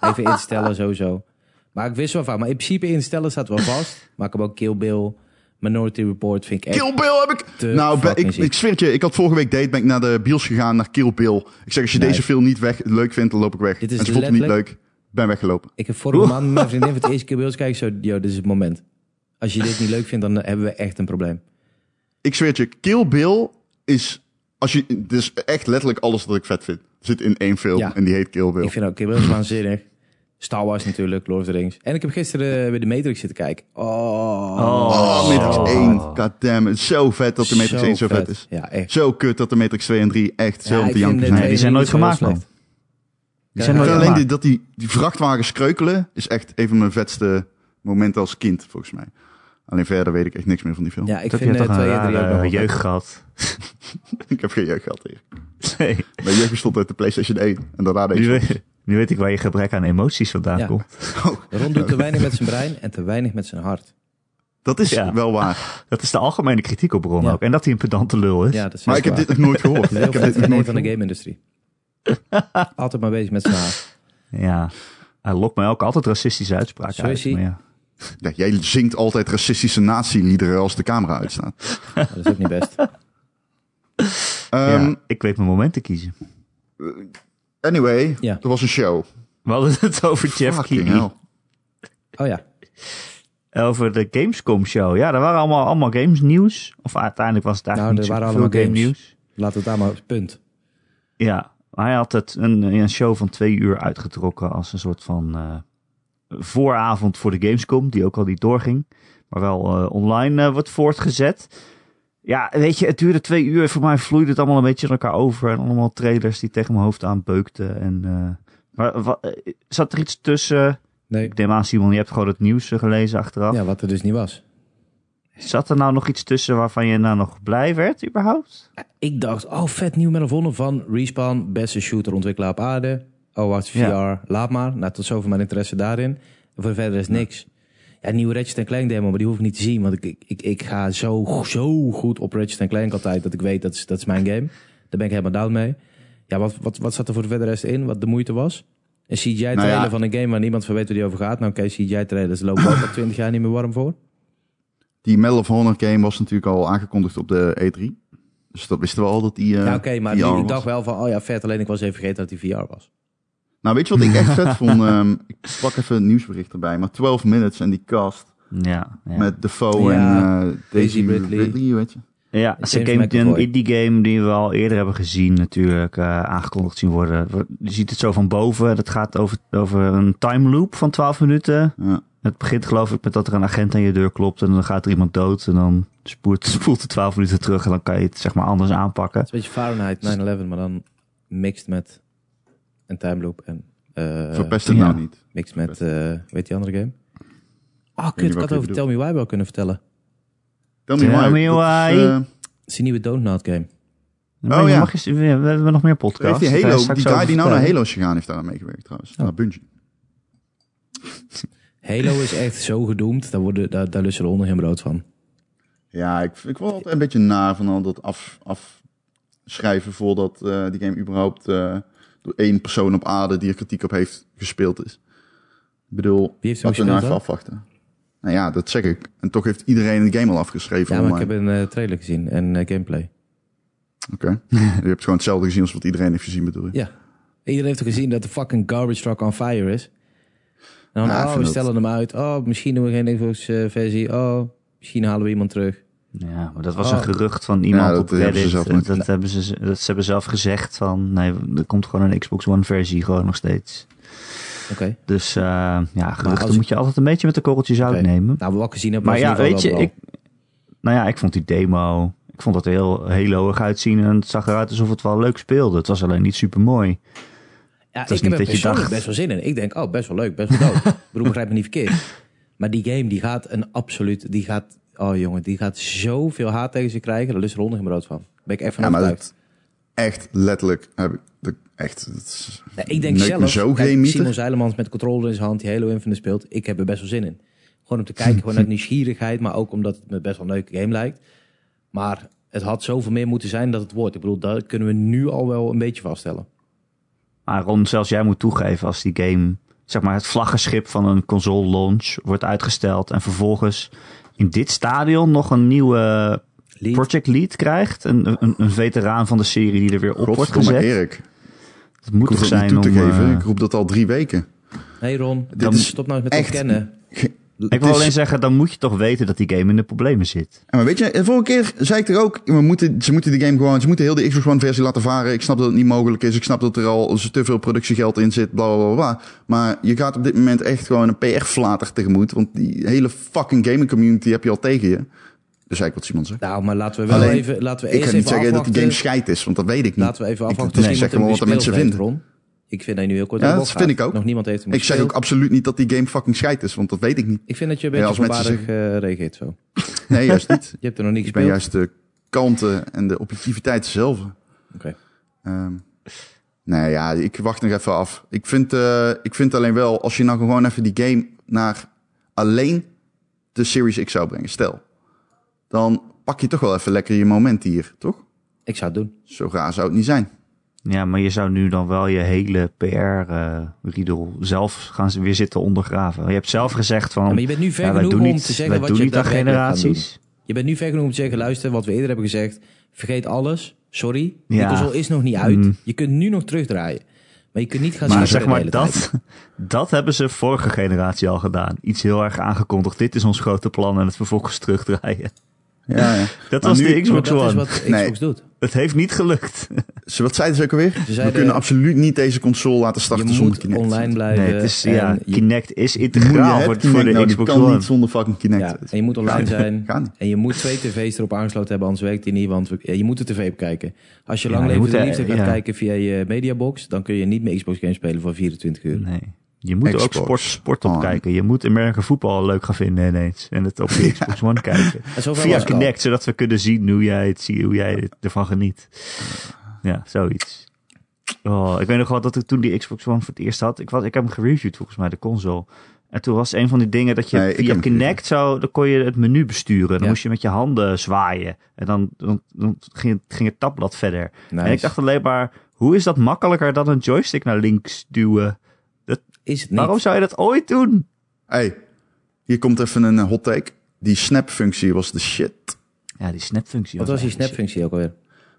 Even instellen sowieso. Maar ik wist wel van. Maar in principe instellen staat wel vast. Maar ik heb ook Kill Bill, Minority Report vind ik echt...
Kill Bill heb ik...
te
nou, ben-
fucking
ik,
ziek.
ik zweer het je, ik had vorige week date, ben ik naar de bios gegaan, naar Kill Bill. Ik zeg, als je
Nee.
deze film niet weg, leuk vindt, dan loop ik weg.
Dit is
en ze vond het niet
letterlijk-
leuk, ben weggelopen.
Ik heb vorige maand met mijn vriendin voor het eerst Kill Bill gekeken. Zo, yo, dit is het moment. Als je dit niet leuk vindt, dan hebben we echt een probleem.
Ik zweer het je, Kill Bill is... Als je, dit is echt letterlijk alles wat ik vet vind. Zit in één film
Ja.
en die heet Kill Bill.
Ik vind ook Kill Bill is waanzinnig. Star Wars natuurlijk, Lord of the Rings. En ik heb gisteren eh, weer de Matrix zitten kijken. Oh,
Oh, Matrix 1. God damn, het is zo vet dat de Matrix 1 zo vet, is.
Ja, echt.
Zo kut dat de Matrix 2 en 3 echt zo
Ja,
te
ik vind
janken
de
zijn.
Nee, die zijn nooit gemaakt, man. Die zijn
Ja,
nooit
En alleen
gemaakt.
die, dat die, die vrachtwagens kreukelen is echt een van mijn vetste momenten als kind, volgens mij. Alleen verder weet ik echt niks meer van die film.
Ja, ik
Dat
vind
heb
eh,
je toch
twee
een
en drie ook nog
rare
wel
jeugd
vet.
gehad.
ik heb geen jeugd gehad hier.
Nee,
Mijn jeugd bestond uit de PlayStation 1 en daarna
nu,
deze.
weet- nu weet ik waar je gebrek aan emoties vandaan
Ja.
komt.
Oh,
Ron doet te weinig met zijn brein en te weinig met zijn hart.
dat is
Ja.
wel waar.
Dat is de algemene kritiek op Ron
Ja.
ook. En dat hij een pedante lul is.
Ja, dat is
Maar ik heb dit nog nooit gehoord.
heel
ik heb dit nog
nee,
nooit
van de
gehoord.
game-industrie. Altijd maar bezig met zijn haar.
Ja. Hij lokt mij ook altijd racistische uitspraken
Zo is
uit.
hij.
maar ja.
Ja, jij zingt altijd racistische nazi-liederen als de camera uitstaat.
Dat is ook niet best.
Ja,
Ehm,
ik weet mijn moment te kiezen.
Anyway,
Ja.
er was een show.
We hadden het over Jeff
Fucking
Keighley.
hell.
Oh ja.
Over de Gamescom show. Ja, er waren allemaal, allemaal games nieuws. Of uiteindelijk was het eigenlijk
Nou, er
niet
waren
zoveel
allemaal
game
games.
nieuws.
Laat het daar maar op het punt.
Ja, hij had het een, een show van twee uur uitgetrokken als een soort van eh, vooravond voor de Gamescom, die ook al niet doorging, maar wel eh, online eh, wordt voortgezet. Ja, weet je, het duurde twee uur. Voor mij vloeide het allemaal een beetje in elkaar over. En allemaal trailers die tegen mijn hoofd aanbeukten. En, eh, maar wa- eh, zat er iets tussen?
Nee.
Ik neem aan, Simon, je hebt gewoon het nieuws eh, gelezen achteraf.
Ja, wat er dus niet was.
Zat er nou nog iets tussen waarvan je nou nog blij werd, überhaupt?
Ik dacht, oh vet nieuw met een van Respawn, beste shooter ontwikkelaar op aarde. Oh wacht, VR,
Ja.
laat maar. Nou, tot zover mijn interesse daarin. En voor verder is niks. Ja, nieuwe Ratchet Clank demo, maar die hoef ik niet te zien. Want ik, ik, ik, ik ga zo, zo goed op Ratchet Clank altijd, dat ik weet, dat is, dat is mijn game. Daar ben ik helemaal down mee. Ja, wat, wat, wat zat er voor de verder rest in, wat de moeite was? Een CGI-trailer
Nou ja.
van een game waar niemand van weet waar die over gaat. Nou oké, CGI-trailers lopen ook al 20 jaar niet meer warm voor.
Die Medal of Honor game was natuurlijk al aangekondigd op de E3. Dus dat wisten we al dat die. eh,
Ja, oké, maar
VR
die- ik
was.
dacht wel van, oh ja, vet. Alleen ik was even vergeten dat die VR was.
Nou, weet je wat ik echt vet vond? Ehm, ik pak even een nieuwsbericht erbij. Maar 12 Minutes en die cast
Ja, ja.
met Defoe
Ja,
en eh Daisy
Ridley.
Ridley. weet je.
Ja,
James
ze game, een
McAvoy.
indie game die we al eerder hebben gezien natuurlijk eh, aangekondigd zien worden. Je ziet het zo van boven. Dat gaat over, over een time loop van 12 minuten.
Ja.
Het begint geloof ik met dat er een agent aan je deur klopt en dan gaat er iemand dood. En dan spoelt, spoelt het 12 minuten terug en dan kan je het zeg maar anders aanpakken.
Het is een beetje Fahrenheit
Dus-
9-11, maar dan mixed met een time loop en eh,
Verpest het
ja.
nou niet.
mixed met, eh, weet je die andere game? Ah,
niet
kut, ik
welke je
had over Tell
bedoelt.
Me Why wel kunnen vertellen.
Tell me
Tell
why.
me
Dat
why.
is, eh,
Het is een nieuwe Donut game.
Maar je
Oh, ja.
mag eens- we we hebben nog meer
heeft
podcasts.
die
Daar ga je
Halo,
straks
die guy
over
die nou naar
vertellen.
Halo is gegaan, heeft daar aan meegewerkt trouwens. Naar Bungie.
Halo is echt zo gedoemd, daar, worden, daar, daar lussen de honden geen brood van.
Ja, ik, ik word altijd een beetje na van al dat af, afschrijven voordat eh, die game überhaupt eh, door één persoon op aarde die er kritiek op heeft gespeeld is. Ik bedoel,
heeft hem
laten we nou
gespeeld
even
dan?
afwachten. Nou ja, dat zeg ik. En toch heeft iedereen de game al afgeschreven.
Ja, maar ik
online.
heb een eh, trailer gezien en eh, gameplay.
Oké. Je hebt gewoon hetzelfde gezien als wat iedereen heeft gezien, bedoel je?
Ja. Iedereen heeft ook gezien dat de fucking garbage truck on fire is. En dan,
Ja, ik
oh,
vind
we
dat-
stellen hem uit. Oh, misschien doen we geen Xbox-versie. oh, misschien halen we iemand terug.
Ja, maar dat was
Oh.
een gerucht van iemand
Ja, dat
op
hebben ze
Reddit.
zelf
Dat,
niet-
dat hebben ze, dat ze hebben zelf gezegd van, nee, er komt gewoon een Xbox One versie gewoon nog steeds.
Oké.
Dus eh, ja, geruchten
als-
moet je altijd een beetje met de korreltjes uitnemen.
Nou, wat ik gezien heb,
Maar
was in
ja,
ieder geval
weet je,
wel
ik, nou ja, ik vond die demo, ik vond dat er heel, heel hoog uitzien en het zag eruit alsof het wel leuk speelde. Het was alleen niet super mooi.
Ja,
is niet
ik heb er
dat je
persoonlijk
dacht-
best wel zin in. Ik denk, oh, best wel leuk, best wel dood. Ik bedoel, begrijp me niet verkeerd. Maar die game, die gaat een absoluut, die gaat, oh jongen, die gaat zoveel haat tegen ze krijgen. Daar lust er onder geen brood van. Daar ben ik echt van
Ja, maar
overtuigd.
dat echt letterlijk heb ik... dat- echt, dat is-
Nee, ik denk
neukt me
zelf,
zo
kijk,
geen
Simon
mieter.
Zeilemans met de controller in zijn hand, die Halo Infinite speelt. Ik heb er best wel zin in. Gewoon om te kijken, gewoon uit nieuwsgierigheid, maar ook omdat het me best wel een leuke game lijkt. Maar het had zoveel meer moeten zijn dat het wordt. Ik bedoel, dat kunnen we nu al wel een beetje vaststellen.
Maar Ron, zelfs jij moet toegeven als die game, zeg maar het vlaggenschip van een console launch wordt uitgesteld en vervolgens in dit stadion nog een nieuwe
Lead.
project lead krijgt. Een, een, een veteraan van de serie die er weer op wordt
Godverdomme
gezet.
Erik.
Het moet
Ik hoef
toch
dat niet
zijn
toe
om...
te
eh,
geven. Ik roep dat al drie weken.
Hey Ron,
Dan is
stop nou eens met
echt-
ontkennen.
ik wil alleen zeggen, dan moet je toch weten dat die game in de problemen zit.
Ja, maar weet je, de vorige keer zei ik er ook, we moeten, ze moeten die game gewoon, ze moeten heel de Xbox One versie laten varen. Ik snap dat het niet mogelijk is. Ik snap dat er al te veel productiegeld in zit, bla bla bla. bla. Maar je gaat op dit moment echt gewoon een PR-flater tegemoet. Want die hele fucking gaming community heb je al tegen je. Dus eigenlijk wat Simon zegt.
Nou, maar laten we wel
Alleen,
even. Laten we
Ik
eerst
ga
even
niet zeggen dat
afwachten.
die game scheid is, want dat weet ik niet.
Laten we even
Ik-
afwachten.
dus
of
ik
iemand
zeg
hem
gewoon wat de
gespeeld
mensen
heeft,
vinden.
Ron. Ik vind dat je nu heel kort
Ja,
op de
dat
bok
vind
gaat.
ik ook.
Nog niemand heeft hem
Ik zeg ook
gespeeld.
absoluut niet dat die game fucking scheid is, want dat weet ik niet.
Ik vind dat je een beetje
Ja, als mensen
zombaardig eh, reageert zo.
Nee, juist niet.
Je hebt er nog niet
Ik ben
gespeeld.
juist de kanten en de objectiviteit zelf.
Oké.
Ehm, nee, ja, ik wacht nog even af. Ik vind, eh, ik vind alleen wel, als je nou gewoon even die game naar alleen de Series X zou brengen, stel. Dan pak je toch wel even lekker je moment hier, toch?
Ik zou het doen.
Zo raar zou het niet zijn.
Ja, maar je zou nu dan wel je hele PR-riedel zelf gaan ze weer zitten ondergraven. Je hebt zelf gezegd van,
Ja, maar je bent nu ver
ja, wij
genoeg
doen
om
niet,
te zeggen
wij
wat
doen
je
niet aan
daadwerkelijk gaat
generaties.
Je bent nu ver genoeg om te zeggen: luister, wat we eerder hebben gezegd. Vergeet alles. Sorry. Die
Ja.
console is nog niet uit.
Mm.
Je kunt nu nog terugdraaien. Maar je kunt niet gaan
Maar
zeuren
zeg
de
maar,
hele tijd.
dat, dat hebben ze vorige generatie al gedaan. Iets heel erg aangekondigd. Dit is ons grote plan en het vervolgens terugdraaien.
Ja, ja.
Dat
Maar
was
nu-
de
Maar
Xbox
dat
One.
is wat Xbox
Nee.
doet.
Het heeft niet gelukt.
Ze- Wat zeiden ze ook alweer?
zeiden-
We kunnen absoluut niet deze console laten
je
starten zonder
moet
Kinect.
online blijven.
Nee, het is,
eh, en
ja,
je
Kinect is
Moet je
integraal voor,
hebben Kinect?
voor de
nou, die
Xbox
kan
One.
niet zonder fucking Kinect.
Ja, en je moet online
Gaat niet.
zijn.
Gaat niet.
En je moet twee tv's erop aangesloten hebben, anders werkt die niet. Want we- ja, je moet de tv bekijken. Als je
Ja,
lang
je
leven
moet
de
er-
liefde gaat
ja.
kijken via je mediabox, dan kun je niet meer Xbox games spelen voor 24 uur.
Nee. Je moet ook
Xbox
sport, sport
One.
opkijken. Je moet American voetbal leuk gaan vinden ineens. En het op de Xbox One kijken.
En zover
Via
was het al.
Kinect, zodat we kunnen zien hoe jij, het, zie- hoe jij ervan geniet. Ja, zoiets. Oh, ik weet nog wel dat ik toen die Xbox One voor het eerst had. Ik, was, ik heb hem gereviewd volgens mij, de console. En toen was een van die dingen dat je
Nee, ik
via
heb hem
Kinect zou, dan kon je het menu besturen. Dan
Ja.
moest je met je handen zwaaien. En dan, dan, dan ging, het- ging het tabblad verder.
Nice.
En ik dacht alleen maar, hoe is dat makkelijker dan een joystick naar links duwen?
Is het niet?
Waarom zou je dat ooit doen?
Hey, hier komt even een eh, hot take. Die snap-functie was de shit.
Ja, die snapfunctie.
Wat was die
eigenlijk
snapfunctie ook alweer?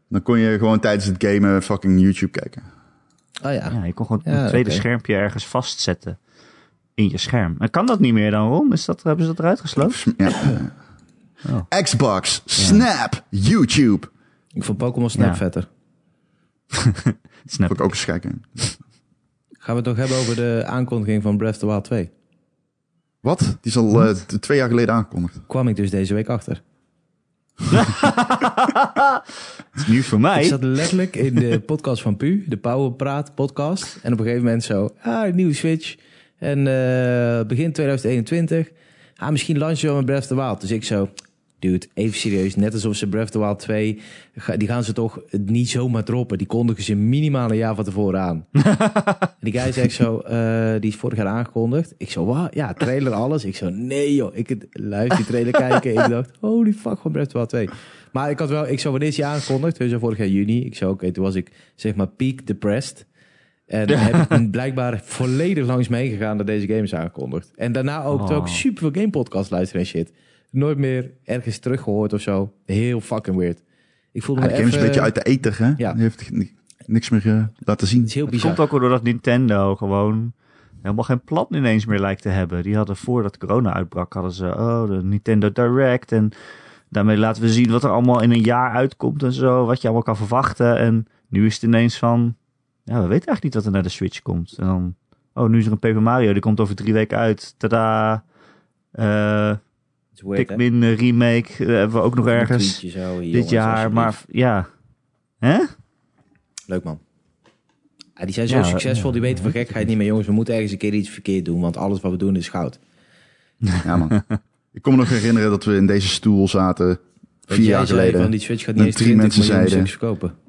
Dan kon je gewoon tijdens het gamen fucking YouTube kijken.
Oh ja.
shit. Ja, je kon gewoon
Ja,
een tweede
oké.
schermpje ergens vastzetten in je scherm. En kan dat niet meer dan, Ron? Is dat, hebben ze dat eruit gesloten?
Ja.
Oh.
Xbox, Snap, YouTube.
Ik vond Pokémon Snap
Ja.
vetter.
Snap.
Vond ik ook eens kijken.
Gaan we het nog hebben over de aankondiging van Breath of the Wild 2?
Wat? Die is al eh, t- twee jaar geleden aangekondigd.
Kwam ik dus deze week achter.
Het is nu voor
Ik
mij.
zat letterlijk in de podcast van Pu, de Power Praat podcast. En op een gegeven moment zo, ah, nieuwe Switch. En eh, begin 2021. Ah, misschien launchen we wel met Breath of the Wild. Dus ik zo, dude, even serieus. Net alsof ze Breath of the Wild 2, ga- die gaan ze toch niet zomaar droppen. Die kondigen ze minimaal een jaar van tevoren aan. en die guy zegt zo, eh, die is vorig jaar aangekondigd. Ik zo, wat? Ja, trailer alles. Ik zo, nee joh. Ik het- luister die trailer kijken. Ik dacht, holy fuck, van Breath of the Wild 2. Maar ik had wel, ik zo, wanneer is die aangekondigd? Weet je, vorig jaar juni. Ik zo, oké, toen was ik, zeg maar, peak depressed. En daar heb ik blijkbaar volledig langs meegegaan dat deze game is aangekondigd. En daarna ook, terwijl ik
Oh.
super veel game podcasts luisteren en shit. Nooit meer ergens teruggehoord of zo. Heel fucking weird. Ik voelde
Ja,
me
de game is
even...
een beetje uit de ether, hè?
Ja.
Die heeft ni- niks meer eh, laten zien.
Het is heel
Het
bizar.
komt ook wel doordat Nintendo gewoon helemaal geen plan ineens meer lijkt te hebben. Die hadden voordat corona uitbrak, hadden ze oh, de Nintendo Direct. En daarmee laten we zien wat er allemaal in een jaar uitkomt en zo. Wat je allemaal kan verwachten. En nu is het ineens van, ja, we weten eigenlijk niet wat er naar de Switch komt. En dan, oh, nu is er een Paper Mario, die komt over drie weken uit. Tada! Eh
Het is weird, hè?
Pikmin eh, remake eh, hebben we ook nog
Een
ergens
tweetje zo, jongens,
dit jaar. Maar
alsjeblieft.
ja, hè?
Leuk man. Ja, die zijn zo
Ja, eh,
succesvol, die
ja,
weten van gekheid niet meer. Jongens, we moeten ergens een keer iets verkeerd doen, want alles wat we doen is goud.
Ja, man. Ik kon me nog herinneren dat we in deze stoel zaten
Want
vier
jij
jaar
zei
geleden.
Van die Switch gaat niet
Dat
eens
drie
20 miljoen
mensen
zeiden.
zeiden.
stuks verkopen.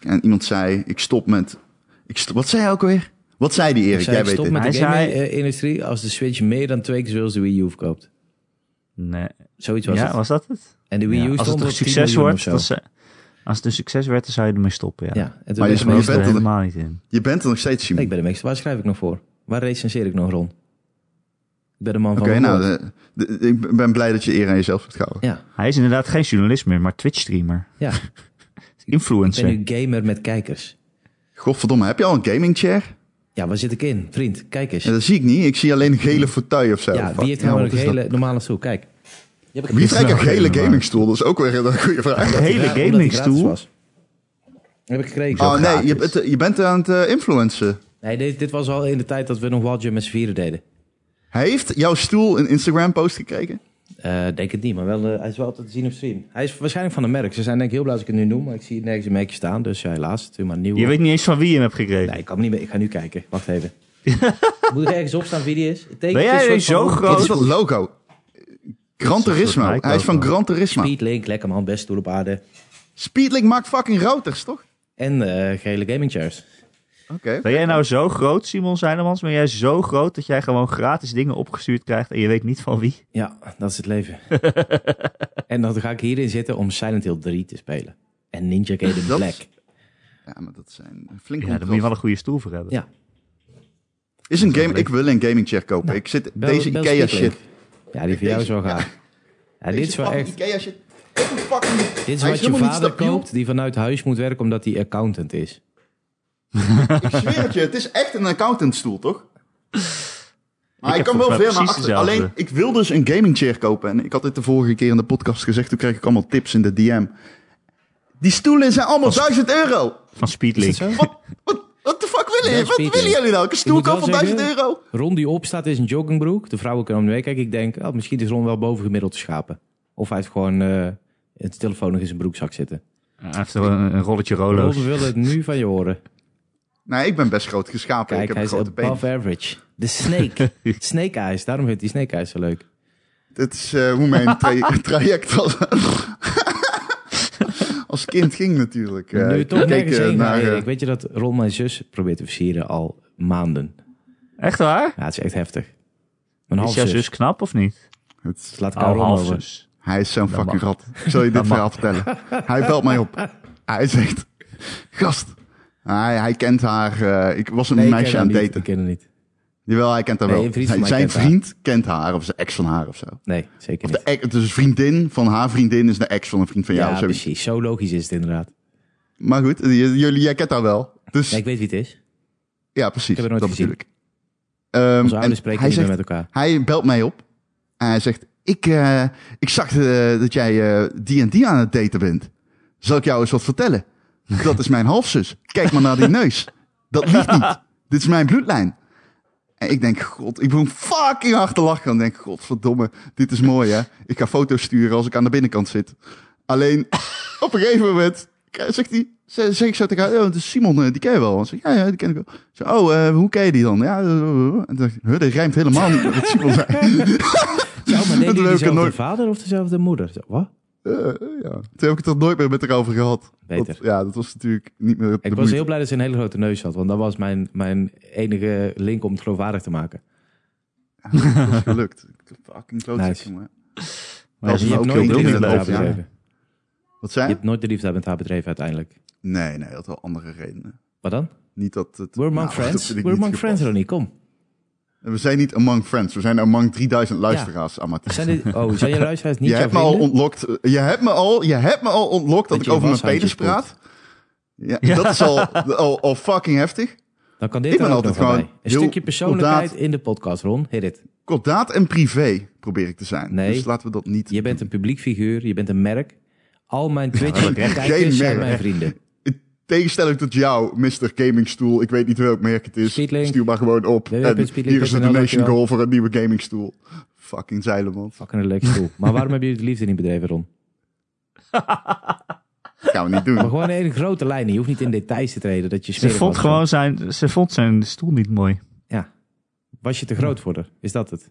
En iemand zei, ik stop met... Ik stop, wat zei hij ook alweer? Wat zei die, Erik?
Zei,
Jij
ik
weet
stop
het.
met
Hij
de
zei-
gaming-industrie als de Switch meer dan twee keer zoveel als de Wii U verkoopt.
Nee.
Zoiets was
Ja,
het.
was dat het?
En de Wii
Ja,
U
als
stond
het een
op 10
succes
miljoen of
wordt,
zo.
dan ze- als het een succes werd, dan zou je ermee stoppen. Ja.
ja. en toen
Maar
ben
je
ik
Maar
je
je
meester-
bent
er
er-
helemaal niet in.
Je bent er nog steeds, Simon.
Nee, ik ben de meester. Waar schrijf ik nog voor? Waar recenseer ik nog, Ron? Ik ben de man
Oké,
van mijn
nou,
woord.
eh,
de- de- ik ben blij dat je eer aan jezelf hebt gehouden.
Ja,
Hij is inderdaad geen journalist meer, maar Twitch-streamer.
ja. ik
Influencer.
ben nu gamer met kijkers.
Godverdomme, heb je al een gaming chair?
Ja, waar zit ik in? Vriend, kijk eens.
Ja, dat zie ik niet. Ik zie alleen een gele fauteuil of zo.
Ja,
Oh, Fuck,
wie heeft
ja,
nou
wat
een
is dat?
hele normale stoel? Kijk.
Wie heeft eigenlijk een
Nou,
gele
maar.
gamingstoel? Dat is ook weer een goede vraag.
Een hele
Ja, omdat die gratis
gamingstoel.
was. Heb ik gekregen.
Oh nee,
gratis.
je, bent- je bent aan het eh, influencen.
Nee, dit, dit was al in de tijd dat we nog Wildjum met z'n vieren deden.
Hij heeft jouw stoel een Instagram-post
Oh,
gekregen?
Eh, denk het niet, maar wel, eh, hij is wel altijd te zien op stream. Hij is waarschijnlijk van een merk. Ze zijn denk ik heel blij als ik het nu noem, maar ik zie het nergens een merkje staan. Dus ja, helaas, het is maar nieuw.
Je weet niet eens van wie je hem hebt gekregen.
Nee, ik kan hem niet meer. Ik ga nu kijken. Wacht even. Moet er ergens op staan wie die is? Het tekentje
Ben jij
is een
nou zo
soort van-
Wat
groot?
is dat logo? Gran
Dat is een soort
Turismo.
Nike
Hij is van
logo.
Gran Turismo.
Speedlink, lekker man, best stoel op aarde.
Speedlink maakt fucking routers, toch?
En eh, gele gaming chairs.
Oké.
Ben jij nou zo groot, Simon Zijnemans? Ben jij zo groot dat jij gewoon gratis dingen opgestuurd krijgt en je weet niet van wie?
Ja, dat is het leven. en dan ga ik hierin zitten om Silent Hill 3 te spelen. En Ninja Gaiden
Dat-
Black.
Ja, maar dat zijn flink
Ja, daar moet je wel een goede stoel voor hebben.
Ja.
Is een game. Ik wil een gaming chair kopen.
Nou,
ik zit
Bel-
deze
bel
Ikea
Speedlink.
shit.
Ja, die voor jou is wel gaaf. Ja, dit is wel
fucking
echt...
Ikea shit. Fucking...
Dit is
Hij
wat je
helemaal niet
vader
stabiel.
koopt die vanuit huis moet werken omdat hij accountant is.
Ik zweer het je. Het is echt een accountantstoel, toch? Maar ik,
heb
kan wel
volgens mij
veel naar
precies
achter.
dezelfde.
Alleen, ik wil dus een gaming chair kopen. En ik had dit de vorige keer in de podcast gezegd. Toen kreeg ik allemaal tips in de DM. Die stoelen zijn allemaal 1000 euro.
Van Speedlink.
Wat, wat, wat de fuck willen
Ja,
jullie? Wat
speaking.
willen jullie nou? Ik een stoel
moet wel
kopen van 1000
zeggen-
euro.
Ron die opstaat is een joggingbroek. De vrouwen kunnen om de kijken. Ik denk, oh, misschien is Ron wel bovengemiddeld te schapen. Of hij heeft gewoon eh het telefoon nog in zijn broekzak zitten.
Hij heeft wel een, een rolletje
Ron,
rolo's.
we willen het nu van je horen.
Nee, ik ben best groot geschapen. ik
Kijk,
heb
hij
een
is
grote been.
above average. De snake. snake eyes. Daarom vindt hij snake eyes zo leuk.
Dit is eh, hoe mijn tra- traject was. Als kind ging natuurlijk. Eh,
nu we
ik
toch
keek,
nergens
eh,
heen
naar,
gaan,
eh,
Erik. Weet je dat Ron mijn zus probeert te versieren al maanden?
Echt waar?
Ja, het is echt heftig. Mijn
Is jouw
halfzus.
zus knap of niet?
het-
Dus laat ik aan
Oh,
Ron over.
halfzus.
hij is zo'n
Dat
fucking
mag.
rat. Ik zal je dit
Dat
verhaal vertellen. Hij belt mij op. Hij zegt, gast. Hij, hij kent haar. eh, ik was een
ik ken
meisje
haar
aan het
niet.
daten.
Ik ken haar niet.
Jawel, hij kent haar
Nee,
wel.
een vriend van mij
zijn
kent haar.
vriend kent haar. Of zijn ex van haar of zo.
Nee, zeker
Of
niet.
de ex, dus een vriendin van haar vriendin is de ex van een vriend van jou.
Ja,
of zoiets.
precies. Zo logisch is het inderdaad.
Maar goed, j- jullie, jij kent haar wel. Dus
Nee, ik weet wie het is.
ja, precies.
Ik heb haar nooit
dat
gezien.
bedoel ik. Ehm,
Onze
en
ouders spreken
hij,
niet meer
zegt,
met elkaar.
hij belt mij op en hij zegt: Ik, eh, ik zag eh, dat jij eh, die en die aan het daten bent. Zal ik jou eens wat vertellen? Dat is mijn halfzus. Kijk maar naar die neus. Dat liegt niet. Dit is mijn bloedlijn. En ik denk, god, ik begon fucking hard te lachen. En denk, godverdomme, dit is mooi hè. Ik ga foto's sturen als ik aan de binnenkant zit. Alleen, op een gegeven moment eh, zegt hij, zeg, zeg ik zo tegen haar, "Oh, dat is Simon, eh, die ken je wel. En ze zegt, ja, ja, die ken ik wel. Ik zeg, oh, eh, hoe ken je die dan? Ja, eh, eh, eh. en toen dacht ik, huh, dat rijmt helemaal niet met wat Simon zei.
Zou maar
heb
deden
ik
jullie
er
dezelfde
nooit-
vader of dezelfde moeder? Zo, Wat?
Eh, eh, ja. Toen heb ik het er nooit meer met haar over gehad.
Beter.
Dat- ja, dat was natuurlijk niet meer de
Ik was
moeite.
heel blij dat ze een hele grote neus had. Want dat was mijn, mijn enige link om het geloofwaardig te maken.
Dat is gelukt. Fucking klootzak,
Nice.
jongen.
Maar
Dat
ja,
is
je hebt
ook
nooit
heel
een
dom
liefde
in het
met
hoofd,
haar
ja.
bedreven.
bedreven.
Wat zei
Je
je?
hebt nooit de liefde met haar bedreven uiteindelijk.
Nee, nee, dat had wel andere redenen.
Wat dan?
Niet dat het,
We're among
nou, dat
friends.
vind ik
We're
niet
among friends,
gepast.
Ronnie. Kom.
We zijn niet among friends. We zijn among 3000 luisteraars, amateur.
Zijn dit, oh, zijn je luisteraars niet
Je
jouw
hebt, me al
vrienden?
ontlokt, eh, je, hebt me al, je hebt me al ontlokt dat,
Dat je
ik over mijn
washandjes
penis praat. Ja, Dat is al, al, al fucking heftig.
Dan kan dit
Ik
er
ben
ook
altijd
nog wel
gewoon
bij. Een
heel
stukje persoonlijkheid
kordaat.
in de podcast, Ron. Hit it.
Kordaat en privé probeer ik te zijn.
Nee.
Dus laten we dat niet.
Je bent een publiek figuur, je bent een merk. Al mijn Twitch-kijkers
Geen
zijn
merk.
mijn vrienden.
In tegenstelling tot jou, Mr. Gamingstoel. Ik weet niet welk merk het is.
Speedlink.
Stuur maar gewoon op. En
www.speedlink.nl,
hier is een donation
dankjewel.
goal voor een nieuwe gamingstoel. Fucking zeilen, man.
Fucking een leuk stoel. Maar waarom hebben jullie de liefde niet bedreven, Ron?
Dat gaan we niet
Maar
doen.
gewoon in grote lijnen. Je hoeft niet in details te treden dat je
Ze
smerig
vond,
was.
gewoon zijn, ze vond zijn stoel niet mooi.
Ja. Was je te groot voor haar? Is dat het?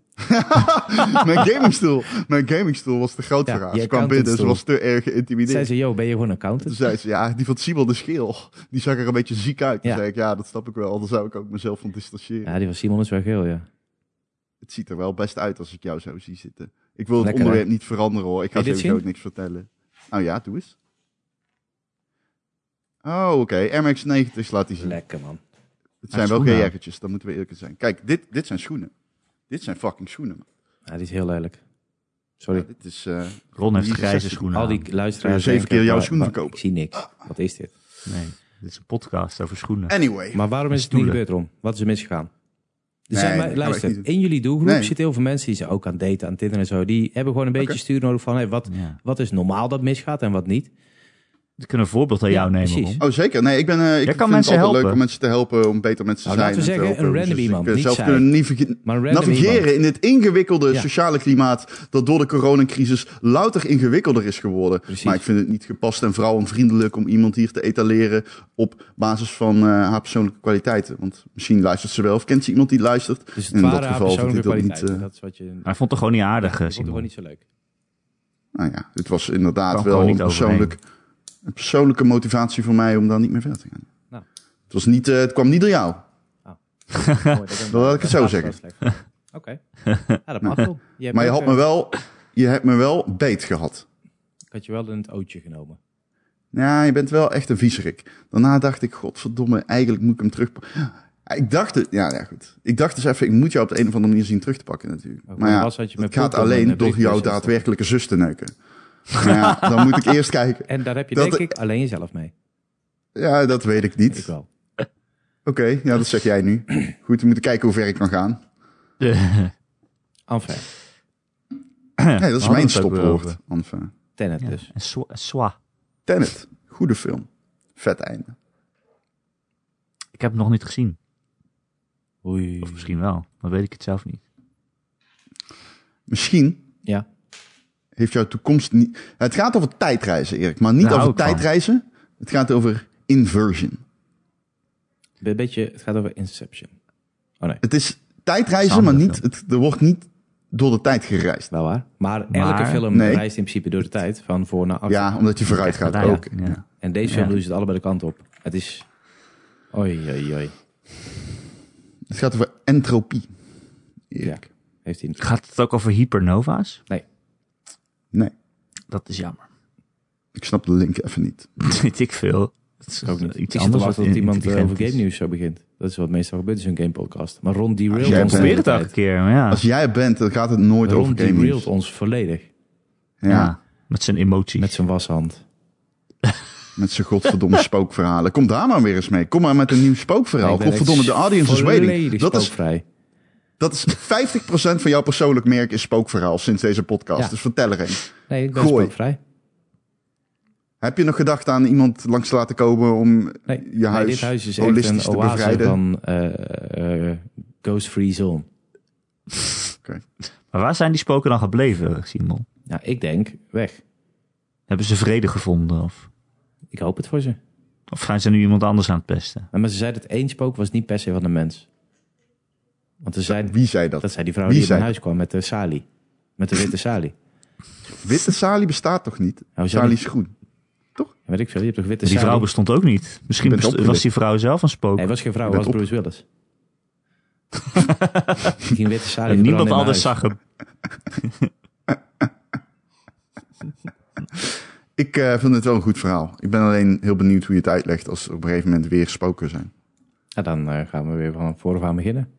Mijn gamingstoel, mijn gamingstoel was te groot
Ja,
voor haar.
je
Ze kwam binnen, ze
accountantstoel.
was te erg
Zei
geïntimideerd.
ze, yo, ben je gewoon
Toen
accountant?
zei ze, ja, die van Siebel de Scheel, die zag er een beetje ziek uit. Toen
Ja.
zei ik, ja, dat snap ik wel. Dan zou ik ook mezelf van distancieren.
Ja, die was Simon is wel geel, ja.
Het ziet er wel best uit als ik jou zo zie zitten. Ik wil het
Lekker,
onderwerp niet veranderen hoor. Ik ga
Wil je dit
sowieso
zien?
niks vertellen. Nou ja, doe eens. Oh, oké. MX-90 laat hij zien.
Lekker, man.
het zijn wel
schoenen.
jaggertjes, dan moeten we eerlijk zijn. Kijk, dit, dit zijn schoenen. Dit zijn fucking schoenen. man.
Ja, die is heel lelijk.
Ja,
Sorry.
dit is... eh,
Ron heeft
Hier is
grijze
16.
schoenen
Al
aan.
die luisteraars
Zeven
denken,
keer jouw
waar-
schoenen
waar-
verkopen. Ah.
Ik zie niks. Wat is dit?
Nee, dit is een podcast over schoenen.
Anyway.
Maar waarom is het niet
Stoelen.
gebeurd, Ron? Wat is er misgegaan? Er
Nee,
zijn
dat
mij-
gaan we echt
luister,
niet doen.
in jullie doelgroep
Nee.
zitten heel veel mensen die zijn ook aan het daten, aan het Tinder en zo. Die hebben gewoon een beetje
Oké.
stuur nodig van hey, wat,
Ja.
wat is normaal dat misgaat en wat niet.
We kunnen een voorbeeld aan jou
Ja,
nemen,
precies.
Ron.
Oh, zeker. Nee, ik ben. eh ik
kan
vind het
mensen
altijd
helpen.
leuk om mensen te helpen om beter mensen te
Nou,
zijn.
laten
en
we
te
zeggen,
helpen
een
hoe ze
random
zich,
iemand,
eh,
niet
Zelf
zij.
kunnen naviga-
Maar een random
navigeren
iemand.
in dit ingewikkelde
Ja.
sociale klimaat. dat door de coronacrisis louter ingewikkelder is geworden.
Precies.
Maar ik vind het niet gepast en vrouwenvriendelijk om iemand hier te etaleren. op basis van eh, haar persoonlijke kwaliteiten. Want misschien luistert ze wel of kent ze iemand die luistert.
Dus het
En in
waren
dat
haar
geval vind
persoonlijke
ik dat niet. eh,
kwaliteiten. dat is wat je...
Hij vond het gewoon niet aardig, eh,
Ik vond het gewoon
Ah, Simon.
niet zo leuk.
nou ja, het was inderdaad
Kan
wel
gewoon
een,
niet
persoonlijk, een persoonlijke motivatie voor mij om daar niet meer verder te gaan.
Nou.
Het, was niet, eh, het kwam niet door jou.
Mooi, dat
Dan laat ik het zo
dat
zeggen.
was slecht. Oké. Ja, dat mag wel. hebt
Maar je
ook,
had
eh,
me wel, je hebt me wel beet gehad.
Ik had je wel in het ootje genomen.
Ja, je bent wel echt een viezerik. Daarna dacht ik, godverdomme, eigenlijk moet ik hem terug... Ik dacht het, ja, ja goed. Ik dacht dus even, ik moet jou op de een of andere manier zien terug te pakken natuurlijk.
Ook
maar
wel
ja,
was dat je met
het gaat
Popcorn een
alleen door
briefbus
jouw
zat.
daadwerkelijke zus te neuken. Maar ja, dan moet ik eerst kijken.
En daar heb je
Dat-
denk ik alleen jezelf mee.
Ja, dat weet ik niet.
Ik
Oké,
wel.
ja, dat zeg jij nu. Goed, we moeten kijken hoe ver ik kan gaan.
Enfin,
Nee, dat is
We hadden
mijn
het ook weer
stopwoord.
over.
Enfin.
Tenet
Ja,
dus.
en swa- en swa.
Tenet, goede film. Vet einde.
Ik heb hem nog niet gezien.
Oei.
Of misschien wel, maar weet ik het zelf niet.
Misschien
Ja.
heeft jouw toekomst niet. Het gaat over tijdreizen, Erik, maar niet
Daar hou
over
ik van.
tijdreizen. Het gaat over inversion.
Een beetje, het gaat over Inception. Oh nee,
Het is tijdreizen,
Sander,
maar niet, het, er wordt niet door de tijd gereisd.
wel waar. Maar elke
Maar-
film
Nee.
reist in principe door de tijd. Van voor naar achter.
Ja, omdat je vooruit gaat
Daar,
ook.
ja. Ja.
En deze film
Ja.
doen ze het allebei de kant op. Het is... Oei, oei, oei.
Het gaat over entropie.
Ja.
Erik.
Heeft hij...
Gaat het ook over hypernova's?
Nee.
Nee,
Dat is jammer.
ik snap de link even niet.
Weet ik veel. Het is
Ook niet.
iets
ik zit te
anders
wachten
wat
tot iemand eh,
intelligent
over game
is.
nieuws zo begint. Dat is wat meestal gebeurt in zo'n gamepodcast. Maar Ron derailed
jij
ons
bent-
Probeer
de
het
hele
elke
tijd.
keer, maar ja.
Als jij er bent, dan gaat het nooit
Ron
over gaming.
derailed ons volledig.
Ja,
ja. Met zijn emoties.
Met zijn
Nou,
washand.
met zijn godverdomme spookverhalen. Kom daar maar weer eens mee. Kom maar met een nieuw spookverhaal.
Ik ben
Godverdomme, de audience is waiting.
volledig
Dat is
spookvrij.
Dat is 50% van jouw persoonlijk merk is spookverhaal sinds deze podcast.
Ja.
Dus vertel er een.
Nee, ik ben
Gooi.
spookvrij.
Heb je nog gedacht aan iemand langs te laten komen om
Nee,
je huis,
nee, dit huis is echt
holistisch
een
te
oase
bevrijden?
van eh, eh, ghost-free zone.
Maar waar zijn die spoken dan gebleven, Simon?
Nou, ik denk, weg.
Hebben ze vrede gevonden? Of,
Ik hoop het voor ze.
of zijn ze nu iemand anders aan het pesten?
Maar ze zei dat één spook was niet per se van een mens. Want er zijn,
Wie zei dat?
dat zei die vrouw
Wie
die in mijn
zei
huis kwam met de sali. Met de witte sali.
Witte salie bestaat toch niet?
zou
salie
die-
is groen.
Ja, weet ik veel, je hebt toch witte
Die
sali?
vrouw bestond ook niet. Misschien
Ik ben
best-
opgelicht.
was die vrouw zelf een spook.
Nee, was geen vrouw,
bent
was
op-
Bruce Willis. Die ging witte sali.
en niemand
verbranden in mijn
anders
huis.
zag hem.
Ik eh, vind het wel een goed verhaal. Ik ben alleen heel benieuwd hoe je het uitlegt als er op een gegeven moment weer spoken zijn.
Ja, dan eh, gaan we weer van vooraf aan beginnen.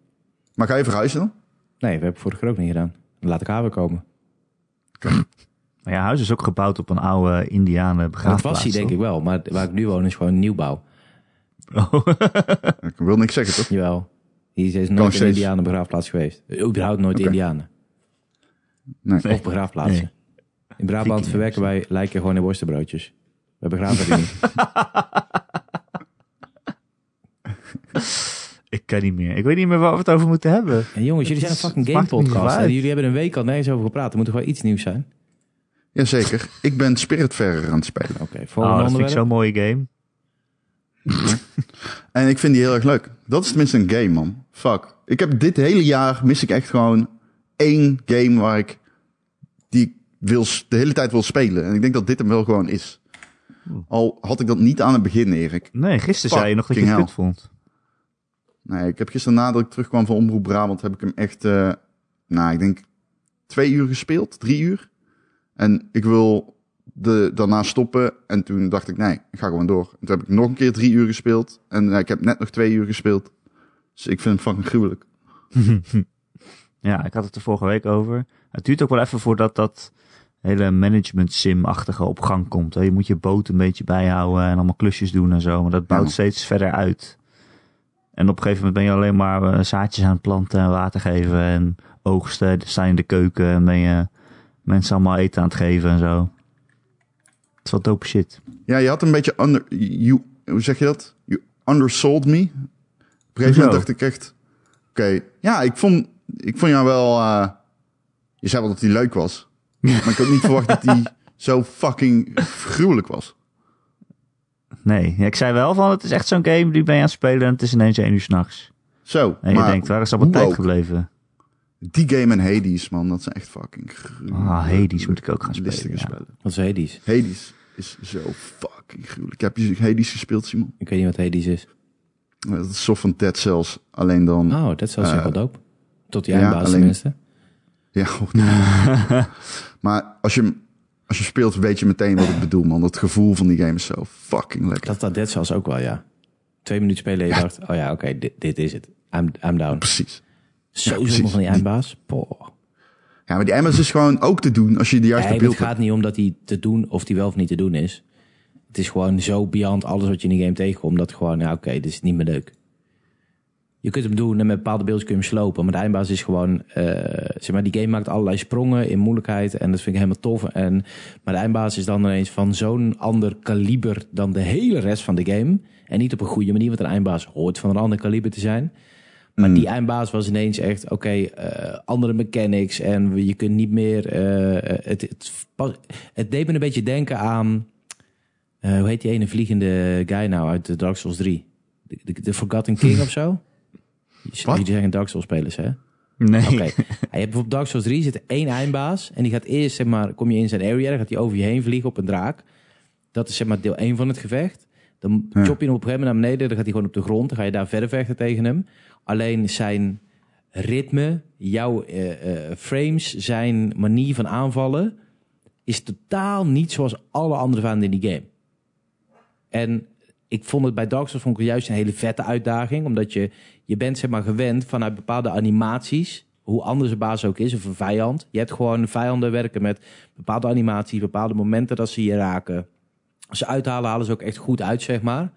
Maar ga je verhuizen dan?
Nee, we hebben vorige keer ook niet gedaan. Dan laat ik haar weer komen.
Maar ja, huis is ook gebouwd op een oude Indianen
Dat
begraafplaats.
was hij denk ik wel, maar waar ik nu woon is gewoon nieuwbouw.
Ik wil niks zeggen, toch?
Jawel. Hier is
nog
nooit een
steeds.
Indianenbegraafplaats geweest. Überhaupt nooit
Oké.
Indianen.
Nee.
Of begraafplaatsen.
Nee.
In Brabant
Viking
verwerken wij lijken gewoon in worstenbroodjes. We begraven die niet.
Ik ken niet meer. Ik weet niet meer waar we het over moeten hebben.
En jongens, jullie zijn een
Het
fucking game
maakt niet
podcast.
uit.
En jullie hebben een week al nergens over gepraat. Er moet toch wel iets nieuws zijn?
Jazeker. Ik ben Spiritfarer aan het spelen.
Oké,
Oh, dat
volgende
vind ik
onderwerp.
zo'n mooie game.
En ik vind die heel erg leuk. Dat is tenminste een game, man. Fuck. Ik heb dit hele jaar mis ik echt gewoon één game waar ik die ik wil, s- de hele tijd wil spelen. En ik denk dat dit hem wel gewoon is. Al had ik dat niet aan het begin, Erik.
Nee, gisteren zei je nog dat je het
Fucking
kut vond.
Nee, ik heb gisteren nadat ik terugkwam van Omroep Brabant, heb ik hem echt, eh, nou, ik denk twee uur gespeeld, drie uur. En ik wil de, daarna stoppen. En toen dacht ik, nee, ik ga gewoon door. En toen heb ik nog een keer drie uur gespeeld. En eh, ik heb net nog twee uur gespeeld. Dus ik vind hem fucking gruwelijk.
Ja, ik had het er vorige week over. Het duurt ook wel even voordat dat hele management sim-achtige op gang komt. hè. Je moet je boot een beetje bijhouden en allemaal klusjes doen en zo. Maar dat bouwt
Ja.
steeds verder uit. En op een gegeven moment ben je alleen maar eh, zaadjes aan het planten en water geven. En oogsten staan in de keuken en ben je mensen allemaal eten aan het geven en zo. Het is wel dope shit.
Ja, je had een beetje under... You, hoe zeg je dat? You undersold me. Op een gegeven
Hoezo?
moment dacht ik echt... Oké, ja, ik vond, ik vond jou wel... eh, je zei wel dat hij leuk was. Maar ik had niet verwacht dat hij zo fucking gruwelijk was.
Nee, ja, ik zei wel van het is echt zo'n game die ben je aan het spelen en het is ineens één uur s'nachts.
Zo,
En je
maar
denkt, waar is al mijn
hoe
tijd
ook?
gebleven?
die game en Hades, man, dat zijn echt fucking gruwelijk.
Ah, Hades moet ik ook gaan spelen,
listige
ja.
spellen.
Wat is Hades?
Hades is zo fucking gruwelijk. Heb je Hades gespeeld, Simon?
Ik weet niet wat Hades is.
Dat is soort van Dead Cells, alleen
Ah,
dan...
Oh, dat zou zich wel dope. Tot die
ja,
eindbaas
alleen-
tenminste.
Ja, ook niet. maar als je, hem- als je speelt, weet je meteen wat ik bedoel, man. Dat gevoel van die game is zo fucking lekker.
Dat dat Dead Cells ook wel, ja. Twee minuten spelen en je dacht, oh ja, oké, dit, dit is het. I'm, I'm down.
Precies.
Zo zonde
precies.
van die eindbaas. Poh.
Ja, maar die Emmers is gewoon ook te doen als je de juiste
Nee, maar
beeld
het
hebt.
gaat niet om dat hij te doen of die wel of niet te doen is. Het is gewoon zo beyond alles wat je in die game tegenkomt. Dat gewoon, ja, oké, dit is niet meer leuk. Je kunt hem doen en met bepaalde beelden kun je hem slopen. Maar de eindbaas is gewoon, eh, zeg maar, die game maakt allerlei sprongen in moeilijkheid. En dat vind ik helemaal tof. En, maar de eindbaas is dan ineens van zo'n ander kaliber dan de hele rest van de game. En niet op een goede manier, want een eindbaas hoort van een ander kaliber te zijn. Maar die eindbaas was ineens echt, oké, eh, andere mechanics en je kunt niet meer... eh, het, het, pas- het deed me een beetje denken aan, eh, hoe heet die ene vliegende guy nou uit de Dark Souls 3? De, de, de Forgotten King of zo?
Wat?
Jullie zeggen Dark Souls spelers, hè?
Nee.
Oké. Hij hebt op Dark Souls 3 zit één eindbaas. En die gaat eerst, zeg maar, kom je in zijn area. Dan gaat hij over je heen vliegen op een draak. Dat is, zeg maar, deel 1 van het gevecht. Dan
Ja.
chop je hem op een gegeven moment naar beneden. Dan gaat hij gewoon op de grond. Dan ga je daar verder vechten tegen hem. Alleen zijn ritme, jouw eh, eh, frames, zijn manier van aanvallen... is totaal niet zoals alle andere vijanden in die game. En ik vond het bij Dark Souls vond ik het juist een hele vette uitdaging. Omdat je, je bent zeg maar gewend vanuit bepaalde animaties. Hoe anders een baas ook is of een vijand. Je hebt gewoon vijanden werken met bepaalde animaties. Bepaalde momenten dat ze je raken. Als ze uithalen, halen ze ook echt goed uit zeg maar.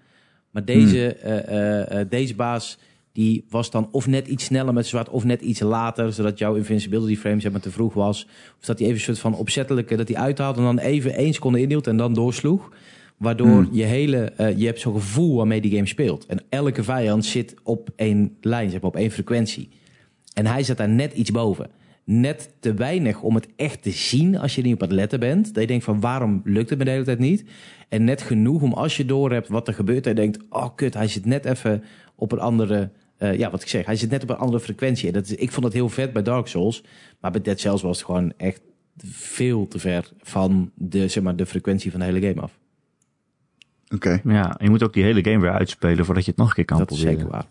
Maar deze, eh, eh, eh, deze baas die was dan of net iets sneller met zwart of net iets later. Zodat jouw invincibility frame zeg maar te vroeg was. Of dat hij even een soort van opzettelijke dat hij uithaalde. En dan even één seconde inhield en dan doorsloeg. Waardoor je hele, eh, je hebt zo'n gevoel waarmee die game speelt. En elke vijand zit op één lijn, zeg maar, op één frequentie. En hij zit daar net iets boven. Net te weinig om het echt te zien als je er niet op het letten bent. Dat je denkt van waarom lukt het me de hele tijd niet? En net genoeg om als je doorhebt wat er gebeurt. Dat je denkt, oh kut, hij zit net even op een andere... eh, ja, wat ik zeg, hij zit net op een andere frequentie. En Dat is, ik vond dat heel vet bij Dark Souls. Maar bij Dead Cells was het gewoon echt veel te ver van de, zeg maar, de frequentie van de hele game af.
Oké.
Ja, je moet ook die hele game weer uitspelen voordat je Nou, het nog een keer kan
dat is
proberen.
zeker waar.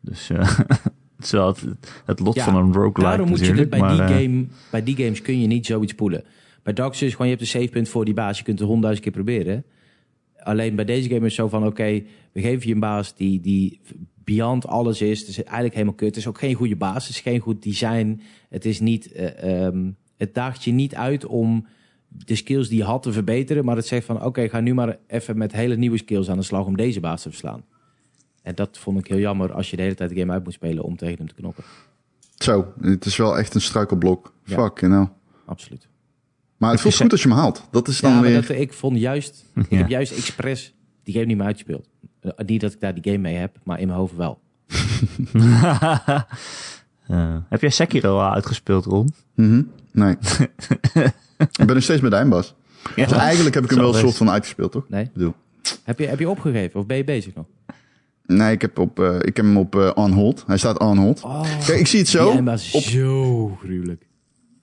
Dus eh, het is wel het, het lot
Ja,
van een roguelike
Daarom moet je
natuurlijk.
dit bij,
maar,
die
eh,
game, bij die games kun je niet zoiets poelen. Bij Dark Souls is gewoon, je hebt een savepunt voor die baas. Je kunt het honderdduizend keer proberen. Alleen bij deze game is het zo van, oké, we geven je een baas die, die beyond alles is. Het is eigenlijk helemaal kut. Het is ook geen goede baas. Het is geen goed design. Het is niet, eh, ehm, het daagt je niet uit om de skills die je had te verbeteren. Maar het zegt van, oké, ga nu maar even met hele nieuwe skills aan de slag om deze baas te verslaan. En dat vond ik heel jammer als je de hele tijd de game uit moet spelen om tegen hem te knokken.
Zo, het is wel echt een struikelblok.
Ja.
Fuck, you know.
Absoluut.
Maar het voelt goed als je hem haalt. Dat is dan
Ja, maar
weer...
dat, ik vond juist, ik
Ja.
heb juist expres die game niet meer uitgespeeld. Eh, Niet dat ik daar die game mee heb, maar in mijn hoofd wel.
Eh, heb jij Sekiro al uitgespeeld, Ron?
Mhm. Nee. ik ben nog steeds met de eindbaas. Dus
Ja.
eigenlijk heb ik hem
Zo
wel een
best.
soort van uitgespeeld, toch?
Nee?
Ik bedoel...
Heb je, heb je opgegeven of ben je bezig nog?
Nee, ik heb, op, eh, ik heb hem op eh, on hold. Hij staat on hold. Kijk, ik zie het zo.
Die eindbaas is
Op-
zo gruwelijk.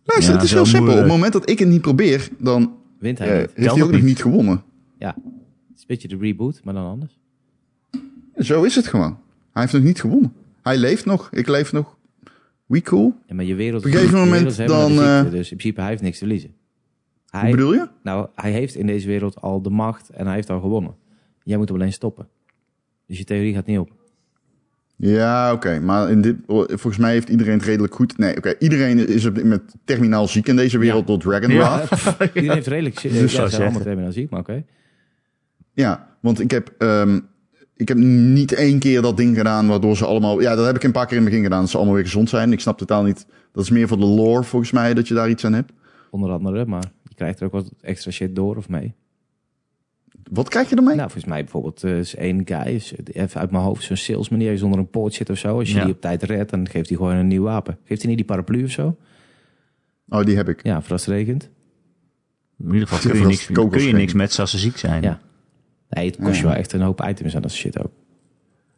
Luister,
Ja,
het is
zo
heel simpel. Op het
moeilijk.
moment dat ik het niet probeer, dan
Wint hij
eh,
niet.
heeft
Telt
hij
dat
ook nog
niet.
niet gewonnen.
Ja, het is een beetje de reboot, maar dan anders.
Zo is het gewoon. Hij heeft nog niet gewonnen. Hij leeft nog. Ik leef nog. We cool.
Ja, maar je
Op
wereld
een gegeven
je
moment
wereld is helemaal
dan,
de ziekte,
eh,
Dus in principe, hij heeft niks te verliezen.
Hoe
Hij,
bedoel je?
nou, hij heeft in deze wereld al de macht en hij heeft al gewonnen. Jij moet hem alleen stoppen. Dus je theorie gaat niet op.
Ja, oké. Maar in dit, oh, volgens mij heeft iedereen het redelijk goed. Nee, oké. Iedereen is op dit moment terminaal ziek in deze wereld door Dragon Wrath. Ja. Dus
Iedereen heeft redelijk... Ja,
zou
ze zijn
zeggen.
allemaal terminaal ziek, maar oké.
want ik heb, ehm, ik heb niet één keer dat ding gedaan waardoor ze allemaal... Ja, dat heb ik een paar keer in het begin gedaan. Dat ze allemaal weer gezond zijn. Ik snap totaal niet... Dat is meer voor de lore volgens mij dat je daar iets aan hebt.
Onder andere, maar je krijgt er ook wat extra shit door of mee.
Wat krijg je ermee?
Nou, volgens mij bijvoorbeeld eh, is één guy, is even uit mijn hoofd, zo'n salesman die ergens onder een poort zit of zo. Als je
Ja.
die op tijd redt, dan geeft hij gewoon een nieuw wapen. Geeft hij niet die paraplu of zo?
Oh, die heb ik.
Ja, voor als het regent.
In ieder geval
Ja,
kun je
dat
niks,
kokos
kun je niks
schenken.
met als ze ziek zijn.
Ja. Nee, het kost je wel echt een hoop items aan dat soort shit ook.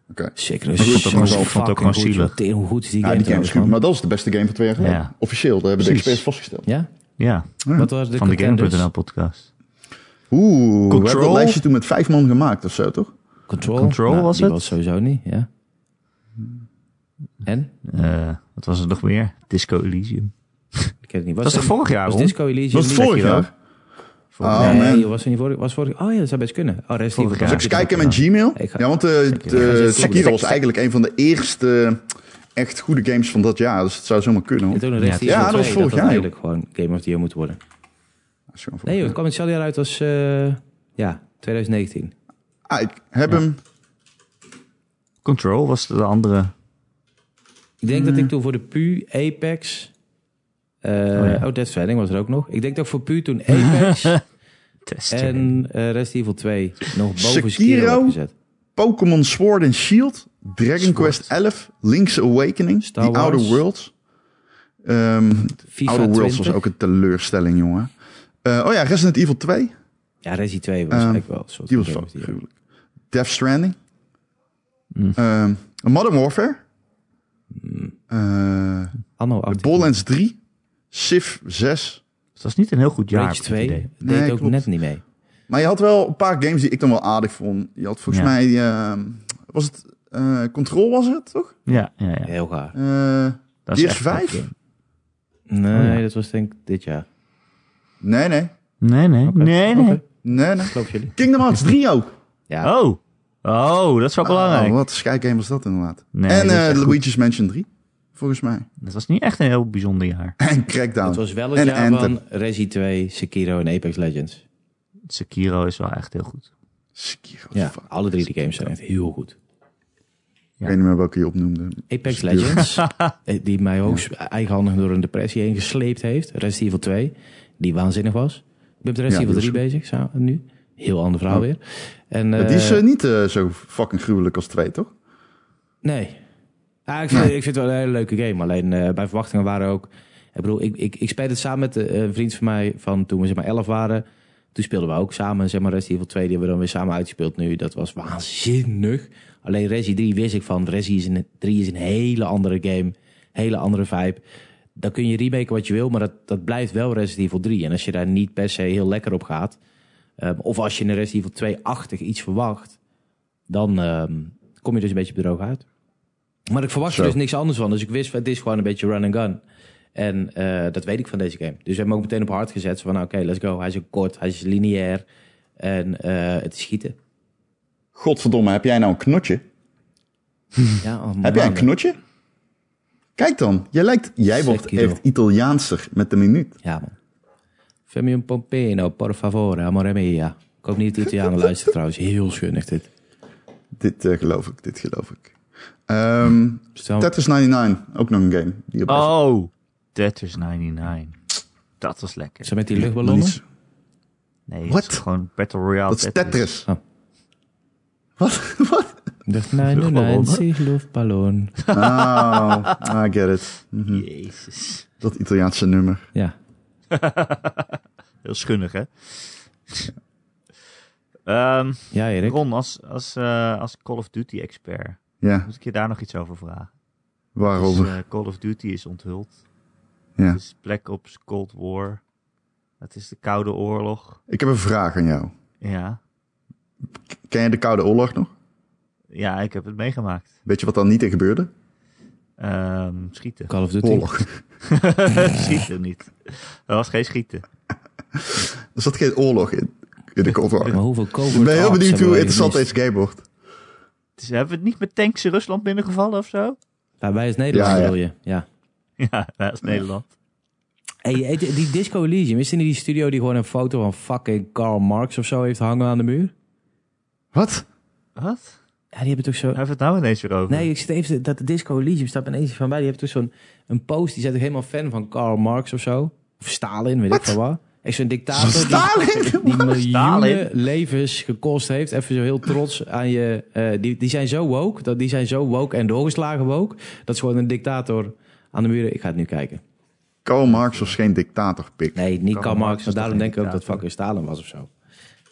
Oké.
Zeker.
Maar goed, dat was-
zo
ik vond het ook gewoon
fucking goed,
zielig.
joh. Tegen Hoe goed is die
Ja,
game
Nou, die game is
trouwens,
goed.
man.
Maar dat is de beste game van twee jaar geleden.
Ja.
Officieel, dat hebben de
Precies.
experts vastgesteld.
Ja?
Ja,
Wat was de
van de
contenders?
Game.nl podcast.
Oeh, we hebben
Control?
dat lijstje toen met vijf man gemaakt of zo, toch?
Control?
Control
Nou,
was
die
het?
was sowieso niet, ja. En?
Eh, wat was er nog meer? Disco Elysium.
Ik ken het niet. Was
Dat is toch vorig jaar,
Was
Ron?
Disco Elysium
Was het
niet?
vorig jaar?
Vorig
Oh,
nee,
man.
joh, was het niet vorig was vorig Oh ja, dat zou best kunnen. Oh, rest
Vorig jaar.
Eens kijken in mijn Gmail.
Ik ga-
Ja, want de, de Sekiro was eigenlijk een van de eerste eh, echt goede games van dat jaar. Dus het zou zomaar kunnen. Hoor.
En
Dat
toen de
Ja,
rest die
ja,
Evil
dat was
2,
vorig
dat
jaar,
eigenlijk gewoon Game of the Year moet worden.
is gewoon voor-
Nee joh, het kwam hetzelfde jaar uit als... eh, ja, 2019.
Ah, ik heb hem.
Control was de andere.
Ik denk dat ik toen voor de PU, Apex... eh, Hmm. oh,
ja.
Death Stranding was er ook nog. Ik denk dat ik voor PU toen Apex
Test.
en eh Resident Evil 2 nog boven
Sekiro?
Sekiro heb gezet.
Pokémon Sword and Shield. Dragon Quest 11. Link's Awakening.
Star
The
Wars.
Outer Worlds. Ehm
FIFA
Outer Worlds
20.
was ook een teleurstelling, jongen. Eh, oh ja, Resident Evil 2.
Ja, Resident 2 was
Ehm,
eigenlijk wel een soort
Die was
Game
fucking
of the Year.
gruwelijk. Death Stranding. Ehm, Modern Warfare.
Hmm.
Eh,
Anno 18.
Borderlands 3. Civ 6.
Dat was niet een heel goed jaar.
Rage
heb ik het
2 deed
Nee,
ook
klopt.
net niet mee.
Maar je had wel een paar games die ik dan wel aardig vond. Je had volgens
Ja.
mij... ehm, was het... eh, Control was het, toch?
idee. Ja, ja, ja.
Heel gaar.
Eh,
Dat is
Gears
echt
vijf?
goed, ja.
Nee,
Oh ja.
dat was denk ik dit jaar.
nee, nee.
Nee, nee, nee, nee.
Nee, nee.
Geloof jullie?
Kingdom Hearts 3 ook.
Ja.
Oh. Oh, dat is wel belangrijk.
Oh, wat een skygame was dat inderdaad.
Nee,
en
dat is
eh,
echt
Luigi's Mansion 3. Volgens mij.
Dat was niet echt een heel bijzonder jaar.
En Crackdown.
Het was wel het
En
jaar
Anthem.
van Resi 2, Sekiro en Apex Legends.
Sekiro is wel echt heel goed.
Sekiro,
Ja,
fuck.
alle drie de games zijn echt heel goed.
Ik weet niet meer welke je opnoemde.
Apex Legends, eh, die mij ook s- eigenhandig door een depressie heen gesleept heeft. Resident Evil 2, die waanzinnig was. Ik ben met Resident
Ja,
Evil
die
3
was
bezig sa- nu. Heel ander verhaal weer. En,
Maar die is
eh,
eh, niet eh, zo fucking gruwelijk als twee, toch?
Nee. Ja, ik, vind, ik vind het wel een hele leuke game. Alleen eh, mijn verwachtingen waren ook... Ik bedoel, ik, ik, ik speel het samen met eh, een vriend van mij van toen we zeg maar 11 waren. Toen speelden we ook samen zeg maar, Resident Evil 2. Die hebben we dan weer samen uitgespeeld nu. Dat was waanzinnig. Alleen Resi 3 wist ik van. Resi is een, 3 is een hele andere game. Hele andere vibe. Dan kun je remaken wat je wil, maar dat, dat blijft wel Resident Evil 3. En als je daar niet per se heel lekker op gaat... ehm, of als je in Resident Evil 2-achtig iets verwacht... dan ehm, kom je dus een beetje bedroog uit. Maar ik verwachtte
Zo.
dus niks anders van. Dus ik wist, het is gewoon een beetje run and gun. En eh, dat weet ik van deze game. Dus we hebben hem ook meteen op hard gezet. Zo van, nou, oké, let's go. Hij is ook kort, hij is lineair. En eh, het is schieten.
Godverdomme, heb jij nou een knotje?
Ja, oh, al
Heb jij een
maanden.
knotje? Kijk dan, jij, lijkt, jij wordt
Sekiro.
echt Italiaanser met de minuut.
Ja, man. Fammi un pompino, por favore, amore mia. Ik hoop niet dat de Italianen luisteren trouwens. Heel schön echt dit.
Dit eh, geloof ik, dit geloof ik. Ehm
Stel,
Tetris 99, ook nog een game. Die op
Oh, Tetris 99. Dat was lekker.
zo met die
Maar
luchtballonnen?
niet-
Nee,
What?
het is gewoon Battle Royale
dat is Tetris.
Oh.
Wat? Wat?
Dacht, nee, nee, nee,
Luchtballonnen?
zie luchtballon.
Oh, I get it. Mhm.
Jezus.
Dat Italiaanse nummer.
Ja.
Heel schunnig, hè? Ehm,
Ja, Erik.
Ron, als, als, eh, als Call of Duty expert,
Ja,
moet ik je daar nog iets over vragen? Dus,
waarover?
eh, Call of Duty is onthuld.
Ja.
Het is Black Ops Cold War. Het is de Koude Oorlog.
Ik heb een vraag aan jou.
Ja,
Ken je de Koude Oorlog nog?
ja ik heb het meegemaakt.
Weet je wat daar niet in gebeurde?
Ehm, schieten.
Call of Duty.
Oorlog.
schieten niet. Er was geen schieten.
Er zat geen oorlog in, in de Cold War.
Maar hoeveel covert
Ik ben heel
ops
benieuwd
hebben
hoe
wij
interessant
gemist?
deze game wordt.
Dus hebben we het niet met tanks in Rusland binnengevallen of zo?
Ja, wij is Nederland,
Ja, ja.
wil je. Ja.
Ja, dat is Nederland.
Hey, hey, die die Disco Elysium, is dit niet die studio die gewoon een foto van fucking Karl Marx of zo heeft hangen aan de muur?
Wat?
Wat?
Ja, die hebben toch zo...
Hebben we het nou ineens weer over?
Nee, ik zit even... te- Dat de Disco Elysium staat ineens van bij. Die heeft toch zo'n een post, die zet toch helemaal fan van Karl Marx of zo? Of Stalin, weet ik
Wat?
veel wat. Echt zo'n dictator die-
Stalin?
die miljoenen
Stalin?
levens gekost heeft. Even zo heel trots aan je. eh, die, die zijn zo woke. Dat, die zijn zo woke en doorgeslagen woke. Dat is gewoon een dictator aan de muren. Ik ga het nu kijken.
Karl Marx was geen dictator, pik.
Nee,
Karl
niet Karl
Marx
Marx.
is toch
Maar daarom
geen
denk ik ook dat
dictator?
fucking Stalin was of zo.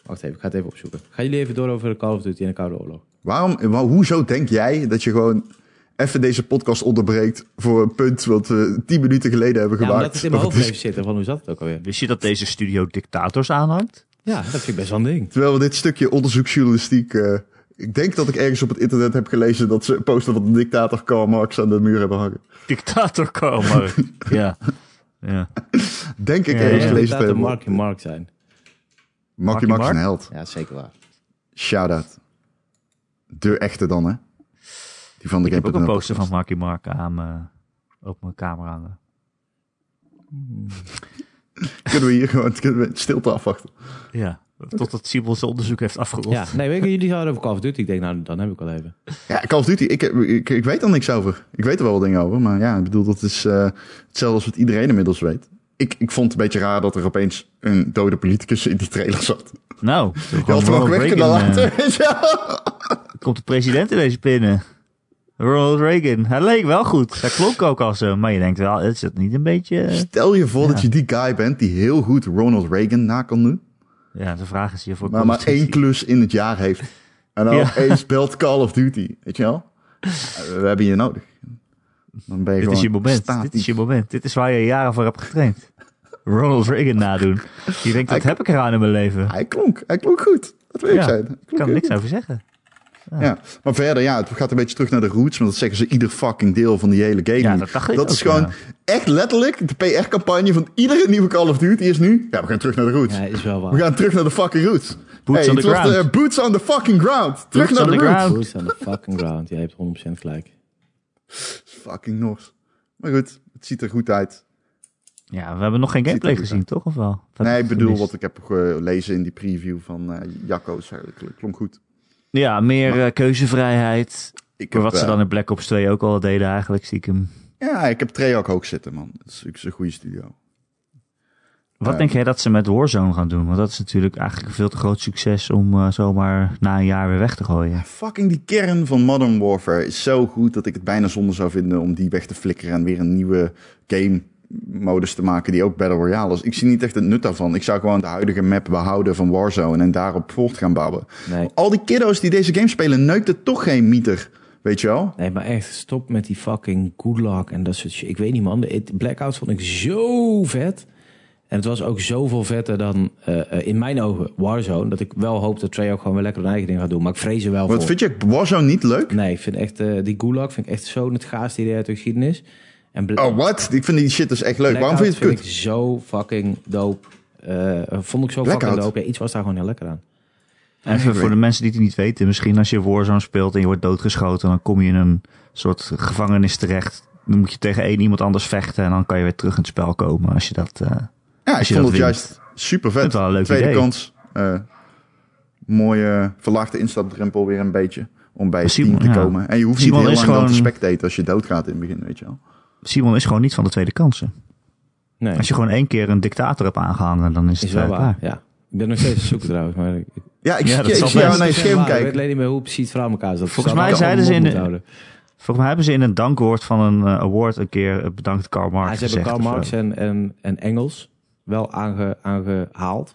Wacht even, ik ga het even opzoeken. Gaan jullie even door over de Call of Duty en de Koude Oorlog?
Waarom, wa- hoezo denk jij dat je gewoon even deze podcast onderbreekt voor een punt wat we tien minuten geleden hebben
Ja,
gemaakt?
omdat het in
Dat
mijn hoofd
is-
bleef zitten. Van hoe zat het ook alweer?
Wist je dat deze studio dictators aanhangt?
Ja, dat vind ik best wel een ding.
Terwijl we dit stukje onderzoeksjournalistiek... eh, ik denk dat ik ergens op het internet heb gelezen dat ze posten van de dictator Karl Marx aan de muur hebben hangen.
Dictator komen. ja. ja.
Denk ik
Ja,
ergens
ja.
gelezen te
Dictator
hebben.
Mark en Mark zijn.
Marky
Marky
Mark is
Mark?
een held.
Ja, zeker waar.
Shout-out. De echte dan, hè? Die van de
Ik heb ook een
Game.nl.
poster van Marky Mark aan me, op mijn kamer hangen.
Kunnen we hier gewoon kunnen we stilte afwachten.
Ja. Totdat Siebel zijn onderzoek heeft afgerond.
Ja, nee, weet je, jullie hadden over Call of Duty. Ik denk, nou, dan heb ik al even.
Ja, Call of Duty, ik, heb- ik, ik weet er niks over. Ik weet er wel wat dingen over, maar ja, ik bedoel, dat is eh, hetzelfde als wat iedereen inmiddels weet. Ik, ik vond het een beetje raar dat er opeens een dode politicus in die trailer zat.
Nou,
Je had hem ook weg kunnen
eh.
laten. weet je wel.
komt de president ineens binnen. Ronald Reagan. Hij leek wel goed. Hij klonk ook als hem. Maar je denkt wel, is het niet een beetje... eh,
Stel je voor dat je die guy bent die heel goed Ronald Reagan na kan doen,
Ja, de vraag is hiervoor...
maar maar één klus in het jaar heeft. En dan
Ja.
opeens belt Call of Duty, weet je wel? Eh, We hebben je nodig. Dan ben
Dit
je gewoon
is je moment.
statief.
Dit is je moment. Dit is waar je jaren voor hebt getraind. Ronald Reagan nadoen. Je denkt, dat heb ik eraan in mijn leven.
Hij klonk, hij klonk goed. Dat wil ik
Ja,
zijn.
ik
Klonk
kan
heel
er niks
goed.
over zeggen.
Ja, maar verder, ja, het gaat een beetje terug naar de roots. Want dat zeggen ze ieder fucking deel van die hele game.
Ja,
nu.
dat dacht ik ook,
is gewoon
ja.
echt letterlijk de PR-campagne van iedere nieuwe Call of Duty is nu... Ja, we gaan terug naar de roots.
Ja, is wel waar.
We gaan terug naar de fucking roots.
Boots on
het
the
was
ground.
de, eh, boots on the fucking ground. Terug
Boots
naar de
on the
roots.
ground.
Boots on the fucking ground. Jij hebt 100% gelijk.
Fucking Nors. Maar goed, het ziet er goed uit.
Ja, we hebben nog geen gameplay
er goed
gezien, toch? Of wel? Of heb
Nee,
ik
ik bedoel
gemist?
wat ik heb gelezen in die preview van eh Jacco's. eh, Klonk goed.
Ja, meer eh, keuzevrijheid.
Ik heb,
Wat ze
eh,
dan in Black Ops 2 ook al deden eigenlijk, stiekem.
Ja, ik heb Treyarch hoog zitten, man. Dat is natuurlijk een goede studio.
Wat
Eh,
denk jij dat ze met Warzone gaan doen? Want dat is natuurlijk eigenlijk een veel te groot succes om eh, zomaar na een jaar weer weg te gooien.
Fucking die kern van Modern Warfare is zo goed dat ik het bijna zonde zou vinden om die weg te flikkeren en weer een nieuwe game modus te maken die ook Battle Royale is. Ik zie niet echt het nut daarvan. Ik zou gewoon de huidige map behouden van Warzone en daarop voort gaan bouwen.
Nee.
Al die kiddo's die deze game spelen neukt het toch geen mieter, weet je wel?
Nee, maar echt, stop met die fucking good luck en dat soort shit. Ik weet niet, man. Het Blackout vond ik zo vet. En het was ook zoveel vetter dan, eh, eh, in mijn ogen, Warzone. Dat ik wel hoop dat Treyarch gewoon weer lekker hun eigen ding gaat doen. Maar ik vrees er wel voor.
Wat vind je Warzone niet leul?
Nee, ik vind echt, eh, die Gulag vind ik echt zo'n het gaafste idee uit de geschiedenis. En Bla-
Oh, wat? Ik vind die shit dus echt leuk. Waarom vind
Blackout
je het
vind ik zo fucking dope. Eh, vond ik zo
Blackout?
fucking dope. Ja, iets was daar gewoon heel lekker aan.
Even voor de mensen die het niet weten. Misschien als je Warzone speelt en je wordt doodgeschoten. Dan kom je in een soort gevangenis terecht. Dan moet je tegen één iemand anders vechten. En dan kan je weer terug in het spel komen. Als je dat... eh,
Ja, ik
Als je
vond
dat
het
wint.
juist super vet.
Vind het wel een leuk
Tweede
idee.
kans. eh, mooie verlaagde instapdrempel weer een beetje. Om bij het
Simon,
team te
ja.
komen. En je hoeft
Simon
niet heel
is
lang dan te
gewoon-
spectaten als je doodgaat in het begin, weet je wel.
Simon is gewoon niet van de tweede kansen.
Ah,
Nee,
Als je gewoon één keer een dictator hebt aangehangen. Dan is het
is wel
eh,
waar.
klaar.
Ja. Ik ben nog steeds op zoek trouwens. Maar ik, ik
Ja, ik,
Ja,
zie-
dat
ik
zal
zie jou
best.
naar je
Zeg
scherm
maar, Ik weet
kijken.
alleen niet meer hoe precies het verhaal in elkaar zat.
Volgens
Zou
mij
ik
zeiden
allemaal
ze in de-
mond houden.
Volgens mij hebben ze in een dankwoord van een eh, award een keer eh, bedankt Karl Marx
Ah, ze hebben
gezegd.
Karl
of zo.
Marx en, en, en Engels wel aange, aangehaald.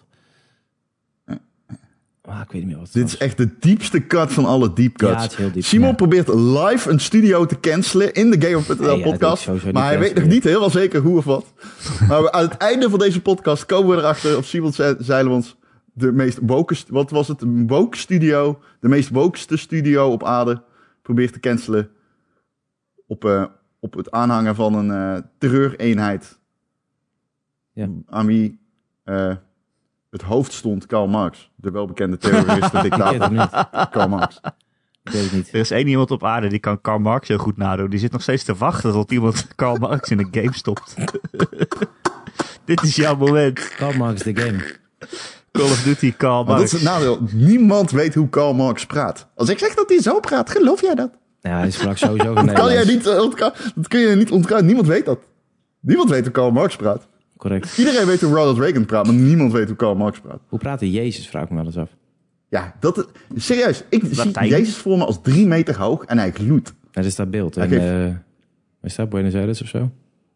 Ah, ik weet niet meer wat het
Dit is echt de diepste cut van alle deep
was.
cuts.
Ja, het is heel diep.
Simon
Ja.
probeert live een studio te cancelen in de Game of
Nee, ja,
PTL
dat is
podcast.
sowieso niet
maar hij weet nog
cancelen.
niet helemaal zeker hoe of wat. maar we- aan het einde van deze podcast komen we erachter op Simon Ze- Zeilemans. De meest woke, st- wat was het? Een woke studio. De meest wokeste studio op aarde. Probeert te cancelen. Op, eh, op het aanhangen van een eh, terreureenheid.
Ja.
Aan wie eh, het hoofd stond Karl Marx. De welbekende terrorist en
Ik weet
dictator
het niet.
Karl Marx.
Ik weet het niet.
Er is één iemand op aarde die kan Karl Marx heel goed nadoen. Die zit nog steeds te wachten tot iemand Karl Marx in een game stopt. Dit is jouw moment.
Karl Marx the game.
Call of Duty Karl
Maar dat
Marx.
is het nadeel. Niemand weet hoe Karl Marx praat. Als ik zeg dat hij zo praat, geloof jij dat?
Ja, hij is straks sowieso geen
Kan jij
Nederlands.
niet, eh, ontka- dat kun je niet ontkraken. Niemand weet dat. Niemand weet hoe Karl Marx praat.
Correct.
Iedereen weet hoe Ronald Reagan praat, maar niemand weet hoe Karl Marx praat.
Hoe praat de Jezus, vraag ik me wel eens af.
Ja, dat is, serieus. Ik
Latijn.
zie Jezus voor me als drie meter hoog en hij gloedt.
Dat is dat beeld. En,
Oké.
eh, is dat Buenos Aires of zo?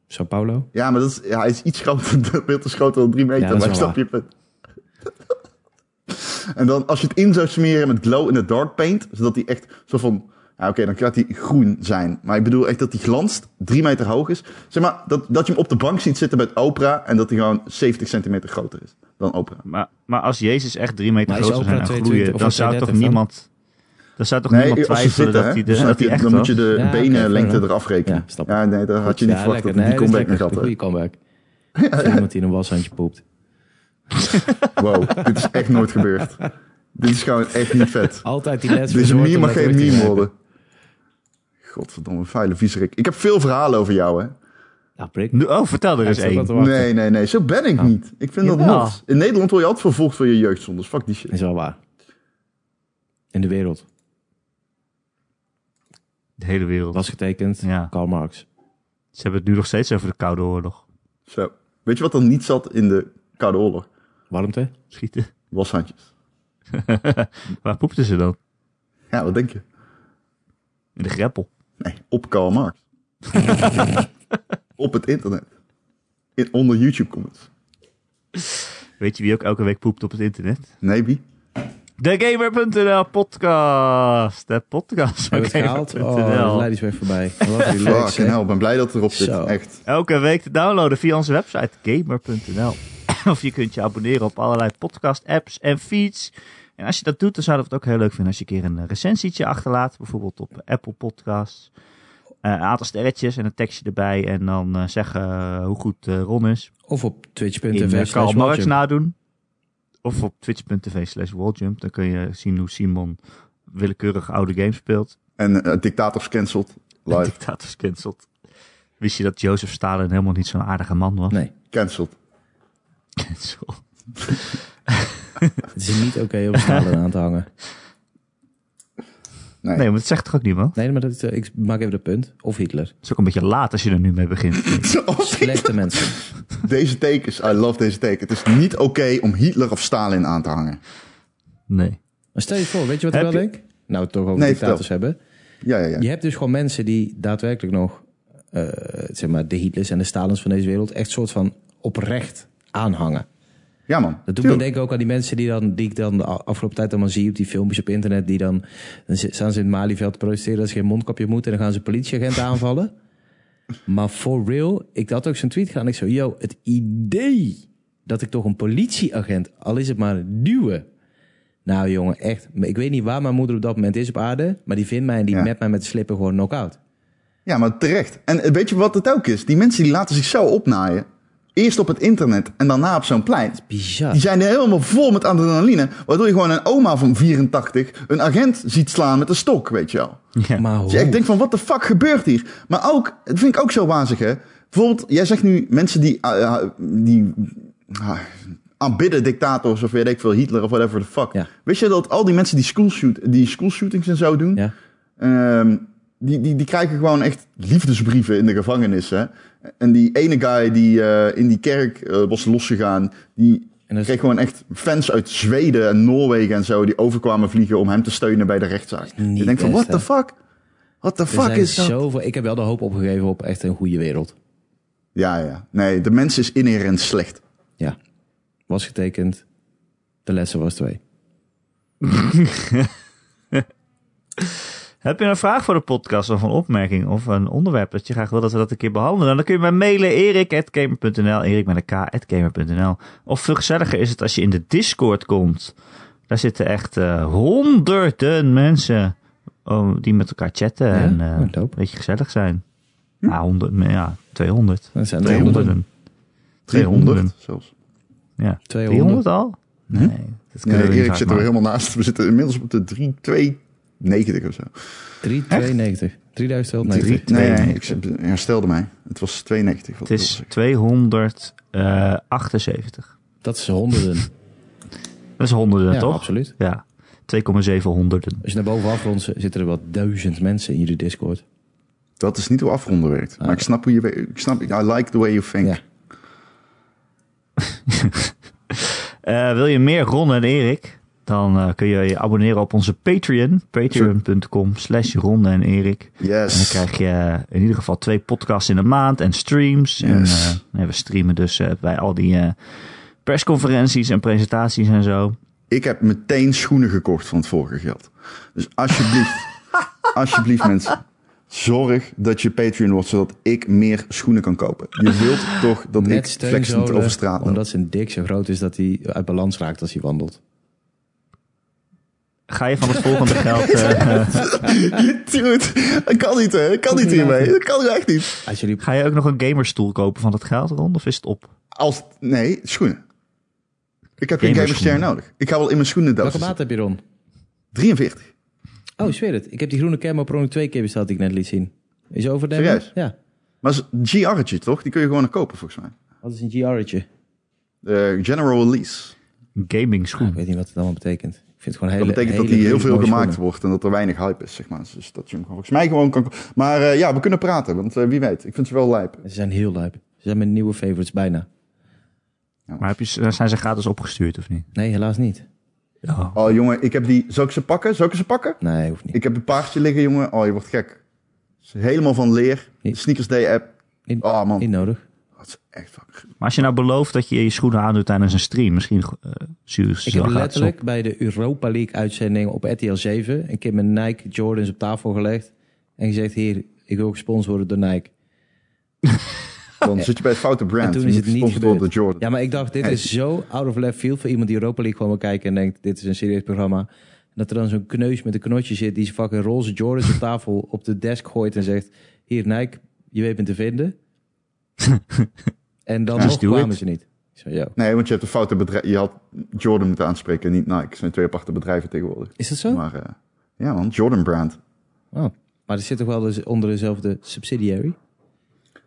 Sao Paulo?
Ja, maar dat is, ja, hij is iets groter. Dat beeld is groter dan drie meter.
Ja, dat is
maar ik
wel
snap je punt. en dan als je het in zou smeren met glow in the dark paint, zodat hij echt zo van. Ja, oké, dan gaat hij groen zijn. Maar ik bedoel echt dat hij glanst, drie meter hoog is. Zeg maar, dat, dat je hem op de bank ziet zitten met Oprah en dat hij gewoon 70 centimeter groter is dan Oprah.
Maar, maar als Jezus echt drie meter
Maar is
groot zou zijn en
Oprah 22
gloeien,
of
dan zou
32
toch
dan?
niemand... Dan zou toch niemand
als ze
twijfelen
zitten,
dat
hè,
hij, de,
dus dan
dat
heb
hij
je-
echt
dan moet je
was?
de
Ja, oké,
benenlengte
verder.
eraf rekenen.
Ja,
Ja,
snap ik.
nee, daar had je niet
Ja,
verwacht dat
lekker.
hij die
Nee, dat is
comeback nog
lekker.
had. hè.
Een goede comeback. Voor iemand die in een washandje poept.
Wow, dit is echt nooit gebeurd. dit is gewoon echt niet vet.
Altijd die les.
Deze
verzorgd
Dus meme
om
mag
dat
geen
terug te
meme
krijgen.
worden. Godverdomme, vuile viezerik. Ik heb veel verhalen over jou, hè?
Nou, prik.
Nu- Oh, vertel er eens
Hij staat wel
één.
te wachten.
Nee, nee, nee, zo ben ik niet. Ik vind dat
Jawel.
not. In Nederland word je altijd vervolgd voor je jeugdzondes. Fuck die shit.
Is wel waar. In de wereld.
De hele wereld.
Was getekend.
Ja.
Karl Marx.
Ze hebben het nu nog steeds over de Koude Oorlog.
Zo. Weet je wat er niet zat in de Koude Oorlog?
Warmte?
Schieten.
Washandjes.
Waar poepten ze dan?
Ja, wat denk je?
In de greppel.
Nee, op Karl Marx. op het internet. In, onder YouTube comments.
Weet je wie ook elke week poept op het internet?
Nee, wie?
Gamer.nl podcast. De podcast van
Hebben we het gehaald? Oh,
Gamer.nl.
dat leidde is weer voorbij. Wat relaxed,
Fucking
hè?
nou-
hell, ik ben blij dat het erop zit.
Zo.
Echt.
Elke week te downloaden via onze website gamer.nl. Of je kunt je abonneren op allerlei podcast apps en feeds. En als je dat doet, dan zouden we het ook heel leuk vinden als je een keer een eh, recensietje achterlaat. Bijvoorbeeld op eh, Apple Podcasts. Eh, een aantal sterretjes en een tekstje erbij. En dan eh, zeggen eh, hoe goed eh, Ron is.
Of op
in
twitch.tv.
eh,
slash
Karl Marx
watchen.
nadoen. Of op twitch.tv slash walljump. Dan kun je zien hoe Simon willekeurig oude games speelt.
En eh, dictators cancelled.
De
Live.
dictators cancelled. Wist je dat Jozef Stalin helemaal niet zo'n aardige man was?
Nee,
Cancelled.
Cancel.
het is niet oké om stalen aan te hangen.
Nee.
Nee, maar dat zegt toch ook niemand?
Nee, maar dat is, eh, ik maak even dat punt. Of Hitler.
Het is ook een beetje laat als je er nu mee begint.
Slechte mensen.
Deze tekens, I love deze teken. Het is niet oké om Hitler of Stalin aan te hangen.
Nee.
Maar stel je voor, weet je wat ik
Heb
wel
je-
denk? Nou, toch over
Nee,
dictators hebben.
Ja, ja, ja.
Je hebt dus gewoon mensen die daadwerkelijk nog, eh, zeg maar, de Hitlers en de Stalins van deze wereld echt soort van oprecht aanhangen.
Ja, man.
Dat doet me
Tuurlijk.
denken ook aan die mensen die, dan, die ik dan de a- afgelopen tijd allemaal zie op die filmpjes op internet. Die dan, dan zi- staan ze in het Malieveld te protesteren dat ze geen mondkapje moeten. En dan gaan ze politieagenten aanvallen. Maar for real, ik had ook zo'n tweet gedaan. Ik zo, yo, het idee dat ik toch een politieagent, al is het maar duwen. Nou jongen, echt. Ik weet niet waar mijn moeder op dat moment is op aarde. Maar die vindt mij en die
Ja.
met mij met de slippen gewoon knock-out.
Ja, maar terecht. En eh, weet je wat het ook is? Die mensen die laten zich zo opnaaien. Eerst op het internet en daarna op zo'n plein.
Bizar.
Die zijn er helemaal vol met adrenaline. Waardoor je gewoon een oma van 84 een agent ziet slaan met een stok, weet je wel.
Ja.
Maar
Dus ik
hoe?
denk van, wat de fuck gebeurt hier? Maar ook, dat vind ik ook zo wazig, hè. Bijvoorbeeld, jij zegt nu mensen die, eh, eh, die ah, aanbidden dictators of weet ik veel, Hitler of whatever the fuck.
Ja.
Wist je dat al die mensen die, schoolshoot, die schoolshootings en zo doen,
Ja.
ehm, die, die, die krijgen gewoon echt liefdesbrieven in de gevangenis, hè. En die ene guy die eh, in die kerk eh, was losgegaan, die
En dat is-
kreeg gewoon echt fans uit Zweden en Noorwegen en zo die overkwamen vliegen om hem te steunen bij de rechtszaak.
niet
Je denkt van,
best,
what the
hè?
fuck? What the
Er
fuck
zijn
is dat?
zoveel. Ik heb wel de hoop opgegeven op echt een goede wereld.
Ja, ja. Nee, de mens is inherent slecht.
Ja. Was getekend. De lessen was twee.
Heb je een vraag voor de podcast of een opmerking of een onderwerp dat je graag wil dat we dat een keer behandelen? Dan kun je mij mailen erik.gamer.nl, erik met een k, at gamer.nl. Of veel gezelliger is het als je in de Discord komt. Daar zitten echt eh, honderden mensen oh, die met elkaar chatten en eh,
Oh,
nou,
een
dope.
beetje gezellig zijn.
Hm?
Ja, 100, maar ja, 200.
Dat zijn er
200.
honderden.
Honderden.
300 zelfs.
Ja.
200
300 al? Nee. Dat
Hm? Nee,
kunnen we niet
Erik
vaak
zit er
maken.
helemaal naast. We zitten inmiddels op de 3290 of zo.
392. 3290.
Nee, nee,
92.
ik zit- herstelde mij. Het was 92. Wat
Het is 278.
Dat is honderden.
Dat is honderden,
ja,
toch?
absoluut.
Ja, 2,7 honderden.
Als je naar boven afrondt, zitten er wat duizend mensen in jullie Discord.
Dat is niet hoe afronden werkt. Maar ik snap hoe je... we- Ik snap, I like the way you think.
Ah. Ja.
Eh, wil je meer Ron en Erik? Dan eh, kun je je abonneren op onze Patreon. Patreon.com slash Ron en Erik. En dan
Yes.
krijg je in ieder geval twee podcasts in de maand en streams. En
Yes.
eh, nee, we streamen dus eh, bij al die eh, persconferenties en presentaties en zo.
Ik heb meteen schoenen gekocht van het vorige geld. Dus alsjeblieft, alsjeblieft mensen, zorg dat je Patreon wordt, zodat ik meer schoenen kan kopen. Je wilt toch dat
Met
ik flexend
steunzolen,
over straat loop.
omdat zijn dik zo groot is dat hij uit balans raakt als hij wandelt.
Ga je van het volgende geld... eh,
Dude, dat kan niet hè, dat kan niet hiermee. Dat kan echt niet.
Als jullie...
ga je ook nog een gamerstoel kopen van dat geld, Ron? Of is het op?
Als, nee, schoenen. Ik heb geen
Gamerschoenen.
gamerster nodig. Ik ga wel in mijn schoenen
Welke
zitten.
maat heb je, Ron?
43.
Oh, ik zweer het. Ik heb die groene Camo Pro nog twee keer besteld die ik net liet zien. Is overdemmen?
Serieus?
Ja.
Maar dat is een GR'tje toch? Die kun je gewoon nog kopen volgens mij.
Wat is een GR'tje?
De General Release.
Gaming
Ik
schoen.
weet niet wat het allemaal betekent. Ik vind het gewoon hele
Dat betekent dat
hele
hij heel veel
mooie
gemaakt
schoenen.
wordt en dat er weinig hype is, zeg maar. Dus dat je hem volgens mij gewoon kan... Maar eh, ja, we kunnen praten, want eh, wie weet. Ik vind ze wel lijp.
Ze zijn heel lijp. Ze zijn mijn nieuwe favorites bijna.
Maar heb je, eh, zijn ze gratis opgestuurd of niet?
Nee, helaas niet.
Ja.
Oh jongen, ik heb die... Zal ik ze pakken? Zal ik ze pakken?
Nee, hoeft niet.
Ik heb een paardje liggen, jongen. Oh, je wordt gek. Het is helemaal van leer.
Niet-
Sneakers Day app.
Niet,
Oh man,
niet nodig.
dat is echt fucking...
Maar als je nou belooft dat je je schoenen aandoet tijdens een stream, misschien eh zuur ze
Ik heb
wel gratis op.
letterlijk bij de Europa League uitzending op RTL 7 een keer mijn Nike Jordans op tafel gelegd. En gezegd, hier, ik wil gesponsord worden door Nike.
Dan zit je bij het foute brand.
En toen
Je
is
moet
het niet
gesponsord worden
gebeurd.
door Jordan.
Ja, maar ik dacht, dit
Nee.
is zo out of left field voor iemand die Europa League kwam kijken en denkt, dit is een serieus programma. En dat er dan zo'n kneus met een knotje zit die zijn fucking roze Jordans op tafel op de desk gooit en zegt, hier Nike, je weet me te vinden. en dan nog
doe
kwamen
het.
ze niet. Ik zei, yo.
Nee, want je hebt een foute bedrijf. Je had Jordan moeten aanspreken, niet Nike. Het zijn twee aparte bedrijven tegenwoordig.
Is dat zo?
Maar eh, ja man, Jordan brand.
Oh. Maar er zit toch wel dus onder dezelfde subsidiary?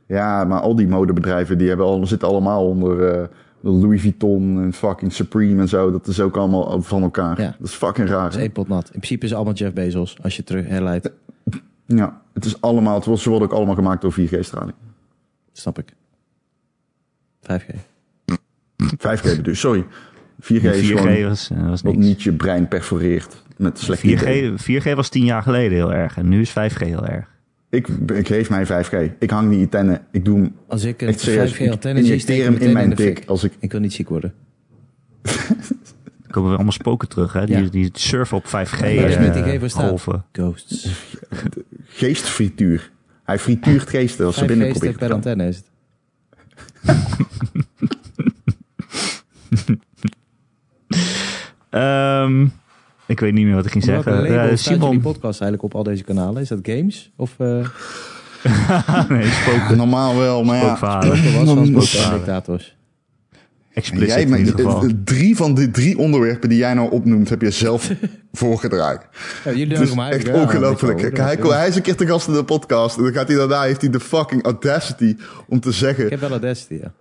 Ja, maar al die modebedrijven die hebben al, zitten allemaal onder eh, Louis Vuitton en fucking Supreme en zo. Dat is ook allemaal van elkaar.
Ja.
Dat is fucking raar.
Dat
hè?
is één pot nat. In principe is het allemaal Jeff Bezos, als je het terug herleidt.
Ja, het is allemaal, het wordt- ze worden ook allemaal gemaakt door 4G-straling.
Snap ik. 5G.
5G dus, sorry. 4G, is
4G
gewoon
was, eh, was
wat
niks.
niet je brein perforeert met slechte ideeën.
4G, 4G was tien jaar geleden heel erg en nu is 5G heel erg.
Ik, ik geef mij 5G. Ik hang die antennes. Ik doe hem
Als ik eh, een
echt serieus.
5G
Ik
antenne zie,
injecteer
steek ik
hem
meteen
in mijn
de fik.
dik. Als ik,
Ik wil niet ziek worden.
Er komen weer allemaal spoken terug, hè? Die,
Ja.
die surfen op 5G
dat is met die
eh,
G voor staat.
golven.
Ghosts.
geestfrituur. Hij frituurt geesten als ze
Vijf
binnen
geesten
probeert. te
per
komen.
antenne is het.
Ehm, ik weet niet meer wat ik ging
Welke
zeggen.
label
Eh,
staat jullie
Simon,
podcast eigenlijk op al deze kanalen? Is dat games? Of eh,
Ah, nee,
Ja,
spook,
normaal wel, maar ja.
spookverhalen.
Er was
Dan-
wel spoken van dictators.
Explicit
Jij,
in ieder geval.
drie van de drie onderwerpen die jij nou opnoemt, heb je zelf voorgedraaid.
Ja, jullie
Het is echt ongelooflijk. Kijk, hij, kon- hij is een keer te gast in de podcast. En dan gaat hij daarna, heeft hij de fucking audacity om te
Ik
zeggen...
heb wel audacity, ja.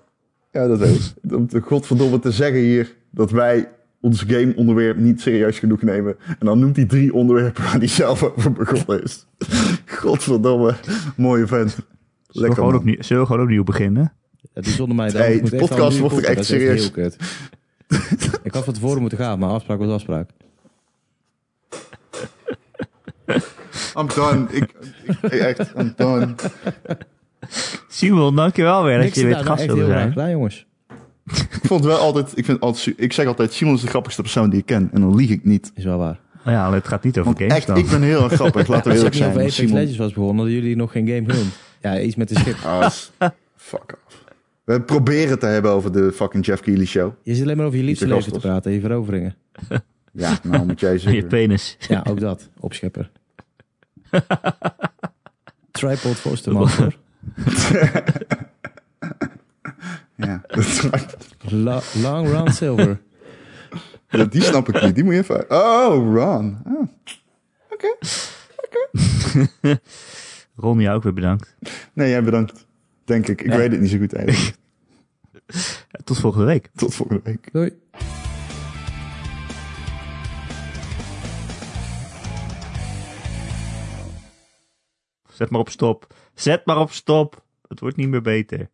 Ja, dat is Om te godverdomme te zeggen hier dat wij ons game-onderwerp niet serieus genoeg nemen. En dan noemt hij drie onderwerpen waar hij zelf over begonnen is. Godverdomme. Mooie vent.
Zullen we
Lekker
gewoon
man.
opnieuw- zullen we gewoon opnieuw beginnen?
Het is zonder mij.
Nee, de
daarom moet ik echt
podcast
wel
wordt
een nieuwe
echt
kopen. Dat is
serieus.
echt heel kut. ik had van tevoren moeten gaan, maar afspraak was afspraak.
I'm done. Ik, ik, echt, I'm done.
Simon, dankjewel weer dat
Niks
je weer
gedaan,
te
maar
gast
echt heel
wilde
graag
zijn.
gedaan, jongens.
Ik vond wel altijd, ik, vind altijd, su- ik zeg altijd, Simon is de grappigste persoon die ik ken. En dan lieg ik niet.
Is wel waar.
Ja, het gaat niet over
Want
games
echt,
dan.
ik ben heel erg grappig. Laten we
Als
eerlijk
ik niet
zijn.
over Apex
Simon-
Legends was begonnen, hadden jullie nog geen game genoemd. Ja, iets met een schip.
Ah, s- fuck off. We proberen het te hebben over de fucking Jeff Keighley show.
Je zit alleen maar over je liefste
Niet te
leven te
gast,
praten, je veroveringen.
Ja, nou moet jij
Je
zeggen.
penis.
Ja, ook dat. Opschepper. Tripod Forstermaster.
Ja, dat is waar.
La long Round Silver.
Ja, die snap ik niet. Die moet je even... Oh, Ron. Ah,
Ron, jou ook weer bedankt.
Nee, jij bedankt. Denk ik. Ik weet het niet zo goed eigenlijk.
Tot volgende week.
Tot volgende week.
Doei.
Zet maar op stop. Zet maar op stop. Het wordt niet meer beter.